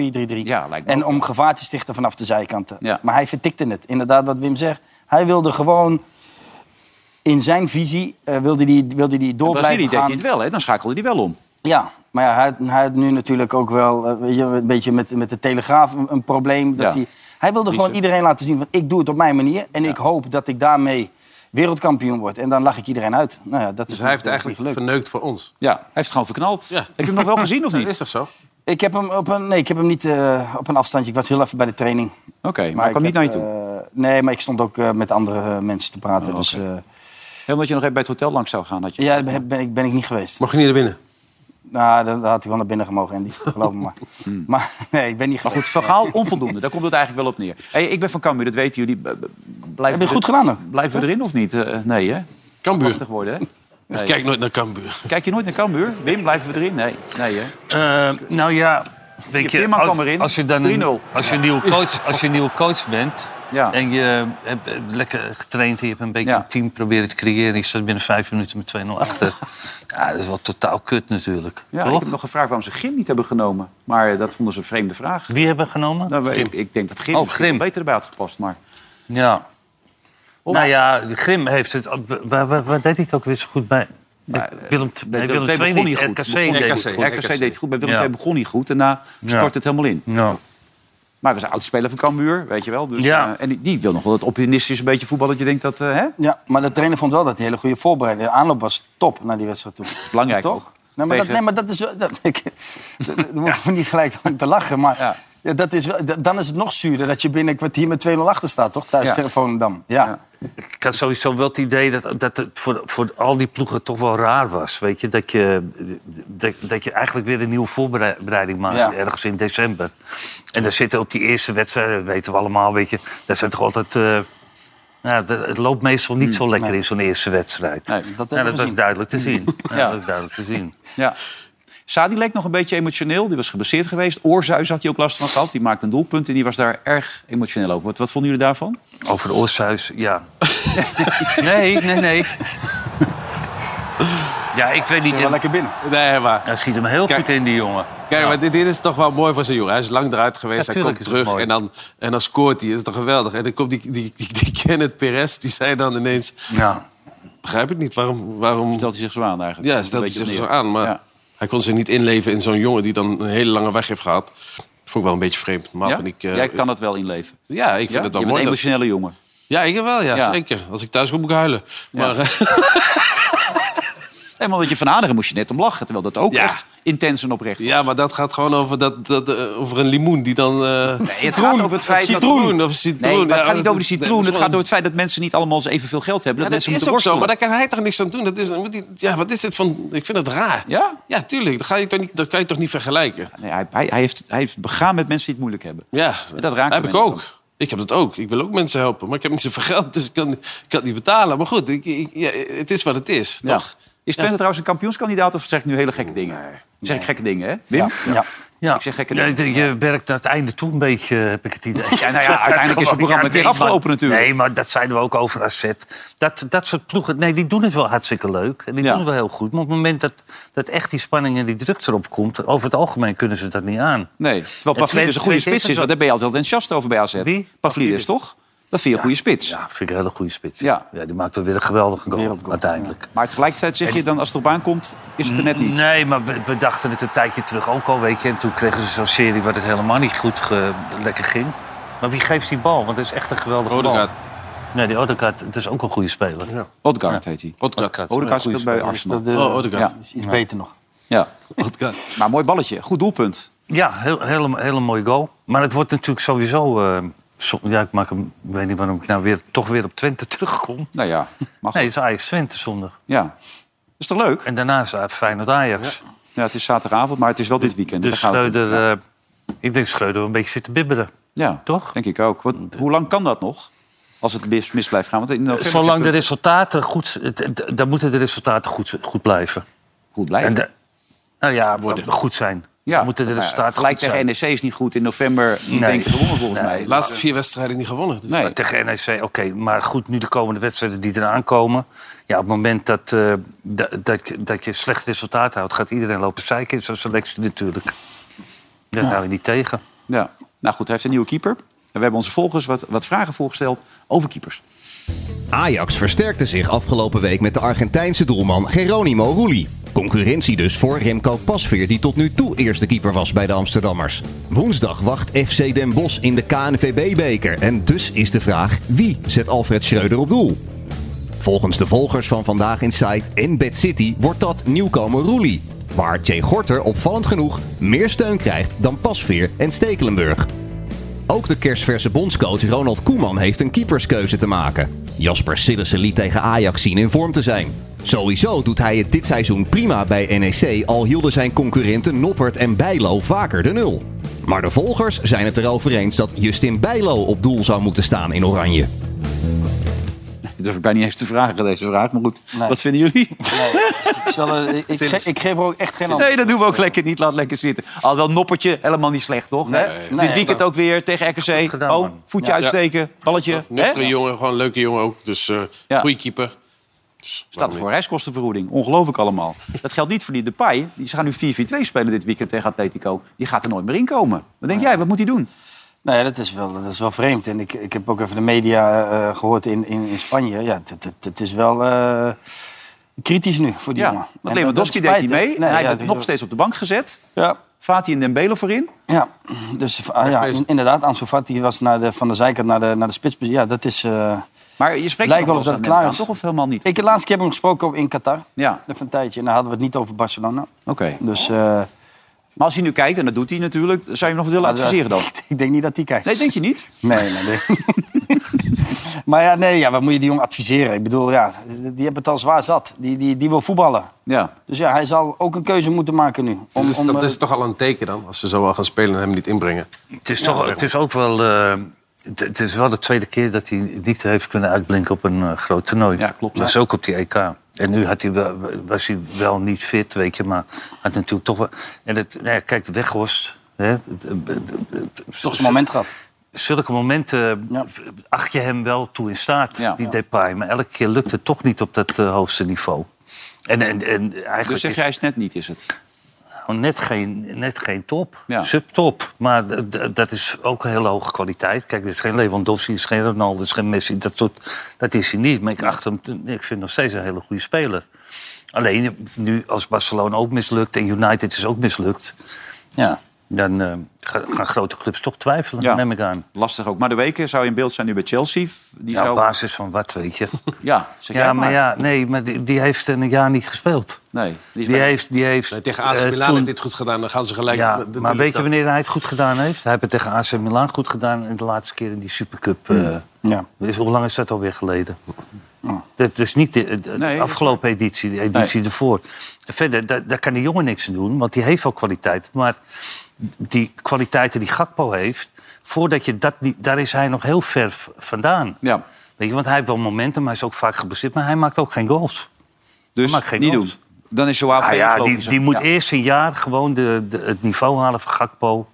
en om gevaar te stichten vanaf de zijkanten. Ja. Maar hij vertikte het. Inderdaad, wat Wim zegt. Hij wilde gewoon in zijn visie eh, wilde die, wilde die door In blijven Brazilië deed gaan. hij het wel, hè? Dan schakelde hij wel om. Ja, maar ja, hij, hij had nu natuurlijk ook wel eh, weet je, een beetje met, met de Telegraaf een, een probleem. Dat Ja. hij, hij wilde gewoon iedereen laten zien van ik doe het op mijn manier... en ik hoop dat ik daarmee wereldkampioen word. En dan lach ik iedereen uit. Nou ja, dat dus is hij heeft het natuurlijk eigenlijk niet gelukt. verneukt voor ons. Ja, hij heeft het gewoon verknald. Ja. Heb je hem nog wel gezien of niet? Dat is toch zo? Ik heb hem, op een, nee, ik heb hem niet eh, op een afstandje. Ik was heel even bij de training. Oké, maar hij kwam ik niet naar je heb, toe. Oh, eh, nee, maar ik stond ook eh, met andere eh, mensen te praten. dus, eh, Heel omdat je nog even bij het hotel langs zou gaan. Had je... ja, daar ben, ben ik, ben ik niet geweest. Mocht je niet naar binnen? Nou, dan, dan had hij wel naar binnen gemogen, Andy. Geloof me maar. Hmm. Maar nee, ik ben niet Maar goed, verhaal onvoldoende. Daar komt het eigenlijk wel op neer. Hey, ik ben van Cambuur, dat weten jullie. B- b- Blijven Heb je we- goed gedaan, hè? Blijven we erin of niet? Eh, nee, hè? Cambuur. Lastig worden, hè? Nee. Ik kijk nooit naar Cambuur. Kijk je nooit naar Cambuur? Wim, blijven we erin? Nee, nee hè? Eh, nou ja, weet Je je, Veerman kwam als, erin. als je dan een, 3-0. als je een nieuwe coach, als je een nieuwe coach bent Ja. en je hebt eh, lekker getraind, en je hebt een beetje Ja. een team proberen te creëren, en je staat binnen vijf minuten met 2-0 achter. Ja, dat is wel totaal kut natuurlijk. Ja, ik toch? heb nog gevraagd waarom ze Grim niet hebben genomen. Maar eh, dat vonden ze een vreemde vraag. Wie hebben genomen? Nou, ik, ik denk dat Grim, Oh, misschien Grim. beter erbij had gepast. Maar Ja. Nou ja, Grim heeft het. Waar, waar, waar deed hij het ook weer zo goed bij? Willem, t- nee, Nou, Bij Willem II begon niet. hij goed. RKC Begon- deed RKC het goed. RKC deed het goed. Bij Willem Ja. II begon hij goed. En daarna stort het helemaal in. Ja. Maar we zijn oudspeler van Cambuur, weet je wel. Dus, Ja. eh, en die- die wil nog wel dat opportunistisch een beetje voetbal. Dat je denkt dat... eh, hè? Ja, maar de trainer vond wel dat hij een hele goede voorbereiding. De aanloop was top naar die wedstrijd toe. Belangrijk Toch? ook. Nee, maar dat, Tegen- nee, maar dat is wel... Dat, ik, dat- dat moet me niet gelijk om te lachen, maar... Ja. dat is wel, dat- dan is het nog zuurder dat je binnen een kwartier met 2-0 achter staat, toch? Thuis Ja. tegen Volendam. Ja. ja. Ik had sowieso wel het idee dat, dat het voor, voor al die ploegen toch wel raar was. Weet je, dat je, dat, dat je eigenlijk weer een nieuwe voorbereiding maakt Ja. ergens in december. En dan zitten op die eerste wedstrijd, dat weten we allemaal, weet je, daar zijn toch altijd. eh, nou, dat- het loopt meestal niet zo lekker in zo'n eerste wedstrijd. Mm, dat nou, hebben we dat was gezien. duidelijk te zien. ja. Ja. dat was duidelijk te zien. Ja. Sadi leek nog een beetje emotioneel. Die was geblesseerd geweest. Oorzuis had hij ook last van gehad. Die maakte een doelpunt en die was daar erg emotioneel over. Wat, wat vonden jullie daarvan? Over Oorsuis, ja. nee, nee, nee. ja, ik weet niet. wel lekker binnen. Nee, maar... Hij schiet hem heel goed in, die jongen. Kijk, maar dit, dit is toch wel mooi voor zijn jongen. Hij is lang eruit geweest, Ja, hij tuurlijk komt is het terug mooi. en dan, en dan scoort hij. Dat is toch geweldig? En dan komt die, die, die, die Kenneth Perez, die zei dan ineens... Ja. Begrijp ik niet, waarom... waarom... Stelt hij zich zo aan eigenlijk? Ja, Een stelt hij beetje zich zo neer. aan, maar Ja. hij kon zich niet inleven in zo'n jongen die dan een hele lange weg heeft gehad. Dat vond ik wel een beetje vreemd. Maar Ja? vind ik, eh, Jij kan dat wel inleven. Ja, ik vind Ja? het wel Je bent mooi. een dat- emotionele jongen. Ja, ik wel, ja, Ja. zeker. Als ik thuis kom, moet ik huilen. Maar, eh, En omdat je van Hanegem moest je net om lachen. Terwijl dat ook echt intens en oprecht was. Ja, maar dat gaat gewoon over, dat, dat, eh, over een limoen die dan... Nee, eh het gaat over het feit citroen, dat... Of citroen. Nee, maar Ja, het gaat niet dat- over de nee, citroen. dat is het wel- gaat over het feit dat mensen niet allemaal evenveel geld hebben. Ja, dat, mensen is moeten ook zo, worstelen. maar daar kan hij toch niks aan doen. Dat is, dan moet hij, ja, wat is dit van... Ik vind het raar. Ja? nou Ja, tuurlijk. Dat, ga je toch niet, dat kan je toch niet vergelijken? Nee, hij, hij, hij heeft, hij heeft begaan met mensen die het moeilijk hebben. Ja, En dat raakt heb hem ik in. ook. Ik heb dat ook. Ik wil ook mensen helpen. Maar ik heb niet zoveel geld, dus ik kan, ik kan het niet betalen. Maar goed, ik, ik- ja, het is wat het is, Ja. toch? Is Twente trouwens een kampioenskandidaat of zeg ik nu hele gekke dingen? Zeg ik gekke dingen, hè? Wim? Ja. Ik zeg gekke Ja, dingen. je je werkt naar het einde toe een beetje, eh, heb ik het idee. nou ja, uiteindelijk is het programma een keer nee, afgelopen maar- natuurlijk. Nee, maar dat zeiden we ook over AZ. Dat, dat soort ploegen, nee, die doen het wel hartstikke leuk. En die doen het wel heel goed. Maar op het moment dat, dat echt die spanning en die druk erop komt... over het algemeen kunnen ze dat niet aan. Nee, terwijl Ja, Pavlidis Twente- een goede Twente is spits het is. wel. Want daar ben je altijd enthousiast over bij AZ. Wie? Pavlidis, toch? Dat vind je een goede spits. Ja, vind ik een hele goede spits. Ja. Ja, die maakt er weer een geweldige goal, uiteindelijk. Maar tegelijkertijd zeg je dan, als het op aankomt, is het er net niet. Nee, maar we, we dachten het een tijdje terug ook al, weet je. En toen kregen ze zo'n serie waar het helemaal niet goed ge- lekker ging. Maar wie geeft die bal? Want het is echt een geweldige Odegaard. bal. Nee, die Odegaard, het is ook een goede speler. Ja. Odgaard heet hij. Odegaard. Odegaard Goeie Oh, speelt bij speler. Arsenal. Dat, eh, Oh, Odegaard. Ja. Is iets beter nog. Ja. Oh, Maar mooi balletje. Goed doelpunt. Ja, heel, hele, hele mooie goal. Maar het wordt natuurlijk sowieso... eh, som- ja, ik maak hem, ik weet niet waarom ik nou weer, toch weer op Twente terugkom. Nou ja, Nee, het is Ajax-Twente zondag. Ja. Is toch leuk? En daarnaast eh, Feyenoord-Ajax. Ja, het is zaterdagavond, maar het is wel dit weekend. Dus Daar gaat het om. Schreuder, eh, ik denk Schreuder wel een beetje zit te bibberen. Ja, toch? Denk ik ook. Want hoe lang kan dat nog? Als het mis, mis blijft gaan. Want in november- Zolang de resultaten goed... het- het- Dan moeten de resultaten goed, goed blijven. Goed blijven? En de- nou ja, worden. goed zijn. Ja, Dan moeten de nou ja, resultaten gelijk goed zijn. tegen NEC is niet goed. In november niet Nee. één keer gewonnen volgens Nee. mij. De laatste vier wedstrijden niet gewonnen. Maar Eh, Tegen NEC, oké. maar goed, nu de komende wedstrijden die eraan komen. Ja, op het moment dat, eh, dat, dat, je- dat je slecht resultaat houdt... gaat iedereen lopen zeiken in zo'n selectie natuurlijk. Dat hou je niet tegen. Ja. Nou goed, hij heeft een nieuwe keeper. En we hebben onze volgers wat, wat vragen voorgesteld over keepers. Ajax versterkte zich afgelopen week met de Argentijnse doelman Geronimo Rulli. Concurrentie dus voor Remco Pasveer, die tot nu toe eerste keeper was bij de Amsterdammers. Woensdag wacht FC Den Bosch in de KNVB-beker. En dus is de vraag, wie zet Alfred Schreuder op doel? Volgens de volgers van Vandaag Insight en Bad City wordt dat nieuwkomer Roelie. Waar Jay Gorter opvallend genoeg meer steun krijgt dan Pasveer en Stekelenburg. Ook de kerstverse bondscoach Ronald Koeman heeft een keeperskeuze te maken. Jasper Sillissen liet tegen Ajax zien in vorm te zijn. Sowieso doet hij het dit seizoen prima bij NEC, al hielden zijn concurrenten Noppert en Bijlo vaker de nul. Maar de volgers zijn het erover eens dat Justin Bijlo op doel zou moeten staan in Oranje. Dat durf ik bijna niet eens te vragen, deze vraag. Maar goed, wat vinden jullie? Ik, zal, eh, ik, ik, ge- ik geef er ook echt geen antwoord. Nee, dat doen we ook lekker niet. Laat lekker zitten. Al wel noppertje, helemaal niet slecht, toch? Hè? nee, Dit weekend ook weer tegen RKC. oh, voetje Ja. uitsteken, balletje. hè? Nuchtere jongen, gewoon een leuke jongen ook. Dus eh goede keeper. Staat er voor reiskostenvergoeding. Ongelooflijk allemaal. Dat geldt niet voor die Depay. Die- Ze gaan nu 4-4-2 spelen dit weekend tegen Atletico. Die gaat er nooit meer in komen. Wat denk jij? Wat moet hij doen? Nee, Nou dat is wel, dat is wel vreemd. En ik, ik heb ook even de media eh, gehoord in, in, in Spanje. Ja, het- het- het- het is wel eh, kritisch nu voor die Ja, jongen. En want Lewandowski dat- dat deed hij spijt, hè? mee. en Nee, hij ja, werd dat- nog steeds op de bank gezet. Ja. Fati en Dembele voorin. Ja, dus ah, ja, in- inderdaad. Ansu Fati was naar de, van de zijkant naar de, naar de spits. Ja, dat is... eh, Maar je spreekt lijkt nog wel of dat het eens aan klaar elkaar, is. Toch of helemaal niet? Ik de laatste keer heb hem gesproken op- in Qatar. Ja. Even een tijdje. En dan hadden we het niet over Barcelona. Oké. Dus, maar als hij nu kijkt, en dat doet hij natuurlijk, zou je hem nog willen Maar dat- adviseren dan? ik denk niet dat die kijkt. Nee, denk je niet? Nee, nee, nee. maar ja, nee, ja, wat moet je die jongen adviseren? Ik bedoel, ja, die hebben het al zwaar zat. Die, die, die wil voetballen. Ja. Dus ja, hij zal ook een keuze moeten maken nu. Om, Dus om, dat eh, is toch al een teken dan, als ze zo al gaan spelen en hem niet inbrengen. Het is, toch, het is ook wel... eh, het, het is wel de tweede keer dat hij niet heeft kunnen uitblinken op een eh, groot toernooi. Ja, klopt. Dat is ook op die EK. En nu had hij wel, was hij wel niet fit, weet je, maar had natuurlijk toch wel... En het, nou ja, kijk, Weghorst... Hè, het- het- het- het- Toch zijn moment gehad. Zulke momenten v- acht je hem wel toe in staat, die Depay. Maar elke keer lukt het toch niet op dat eh, hoogste niveau. En, en, en eigenlijk Dus zeg jij is net niet, is het? gewoon Oh, net geen, net geen top. Subtop. Maar d- d- dat is ook een hele hoge kwaliteit. Kijk, er is geen Lewandowski, er is geen Ronaldo, er is geen Messi. Dat, soort, dat is hij niet. Maar ik, acht hem, ik vind hem nog steeds een hele goede speler. Alleen nu als Barcelona ook mislukt en United is ook mislukt. Ja, Dan eh, ga- gaan grote clubs toch twijfelen, neem ik aan. Lastig ook. Maar de weken zou in beeld zijn nu bij Chelsea. Die ja, zou... op basis van wat, weet je. Ja, zeg jij ja, het maar maar. ja, nee, maar die, die heeft een jaar niet gespeeld. Nee, die, heeft, die heeft... Tegen AC eh, Milan toen- heeft dit goed gedaan. Dan gaan ze gelijk... ja, de- de- maar de- weet je dat- wanneer hij het goed gedaan heeft? Hij heeft het tegen AC Milan goed gedaan in de laatste keer in die Supercup. eh ja. dus hoe lang is dat alweer geleden? Dat is niet de, de- de afgelopen editie, de editie ervoor. Verder, daar, daar kan die jongen niks aan doen, want die heeft wel kwaliteit. Maar die kwaliteiten die Gakpo heeft, voordat je dat, niet- daar is hij nog heel ver v- vandaan. Ja. Weet je, want hij heeft wel momentum, hij is ook vaak geblesseerd, maar hij maakt ook geen goals. Dus hij maakt geen niet goals. doen. Dan is Joao Ah Felix ja, die, logischer. die moet Ja. eerst een jaar gewoon de, de- het niveau halen van Gakpo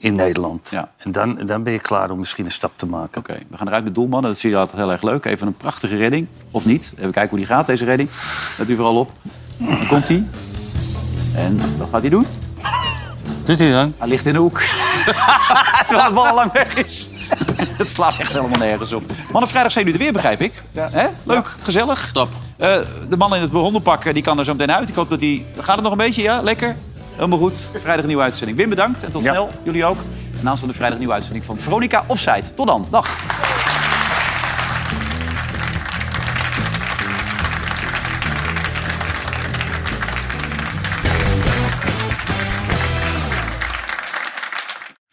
in Nederland. En dan, dan ben je klaar om misschien een stap te maken. Oké, we gaan eruit met doelmannen. Dat vind je altijd heel erg leuk. Even een prachtige redding. Of niet. Even kijken hoe die gaat, deze redding. Let u vooral op. Daar komt hij. En wat gaat hij doen? Doet hij dan? Hij ligt in de hoek. Terwijl de bal al lang weg is. Het slaat echt helemaal nergens op. Mannen, vrijdag zijn jullie er weer, begrijp ik. Hè? Leuk, gezellig. Top. de man in het hondenpak eh, die kan er zo meteen uit. Ik hoop dat hij... Gaat het nog een beetje? Ja, lekker. Helemaal goed. Vrijdag nieuwe uitzending. Wim, bedankt. En tot snel. Jullie ook. En aanstaande vrijdag nieuwe uitzending van Veronica Offside. Tot dan. Dag.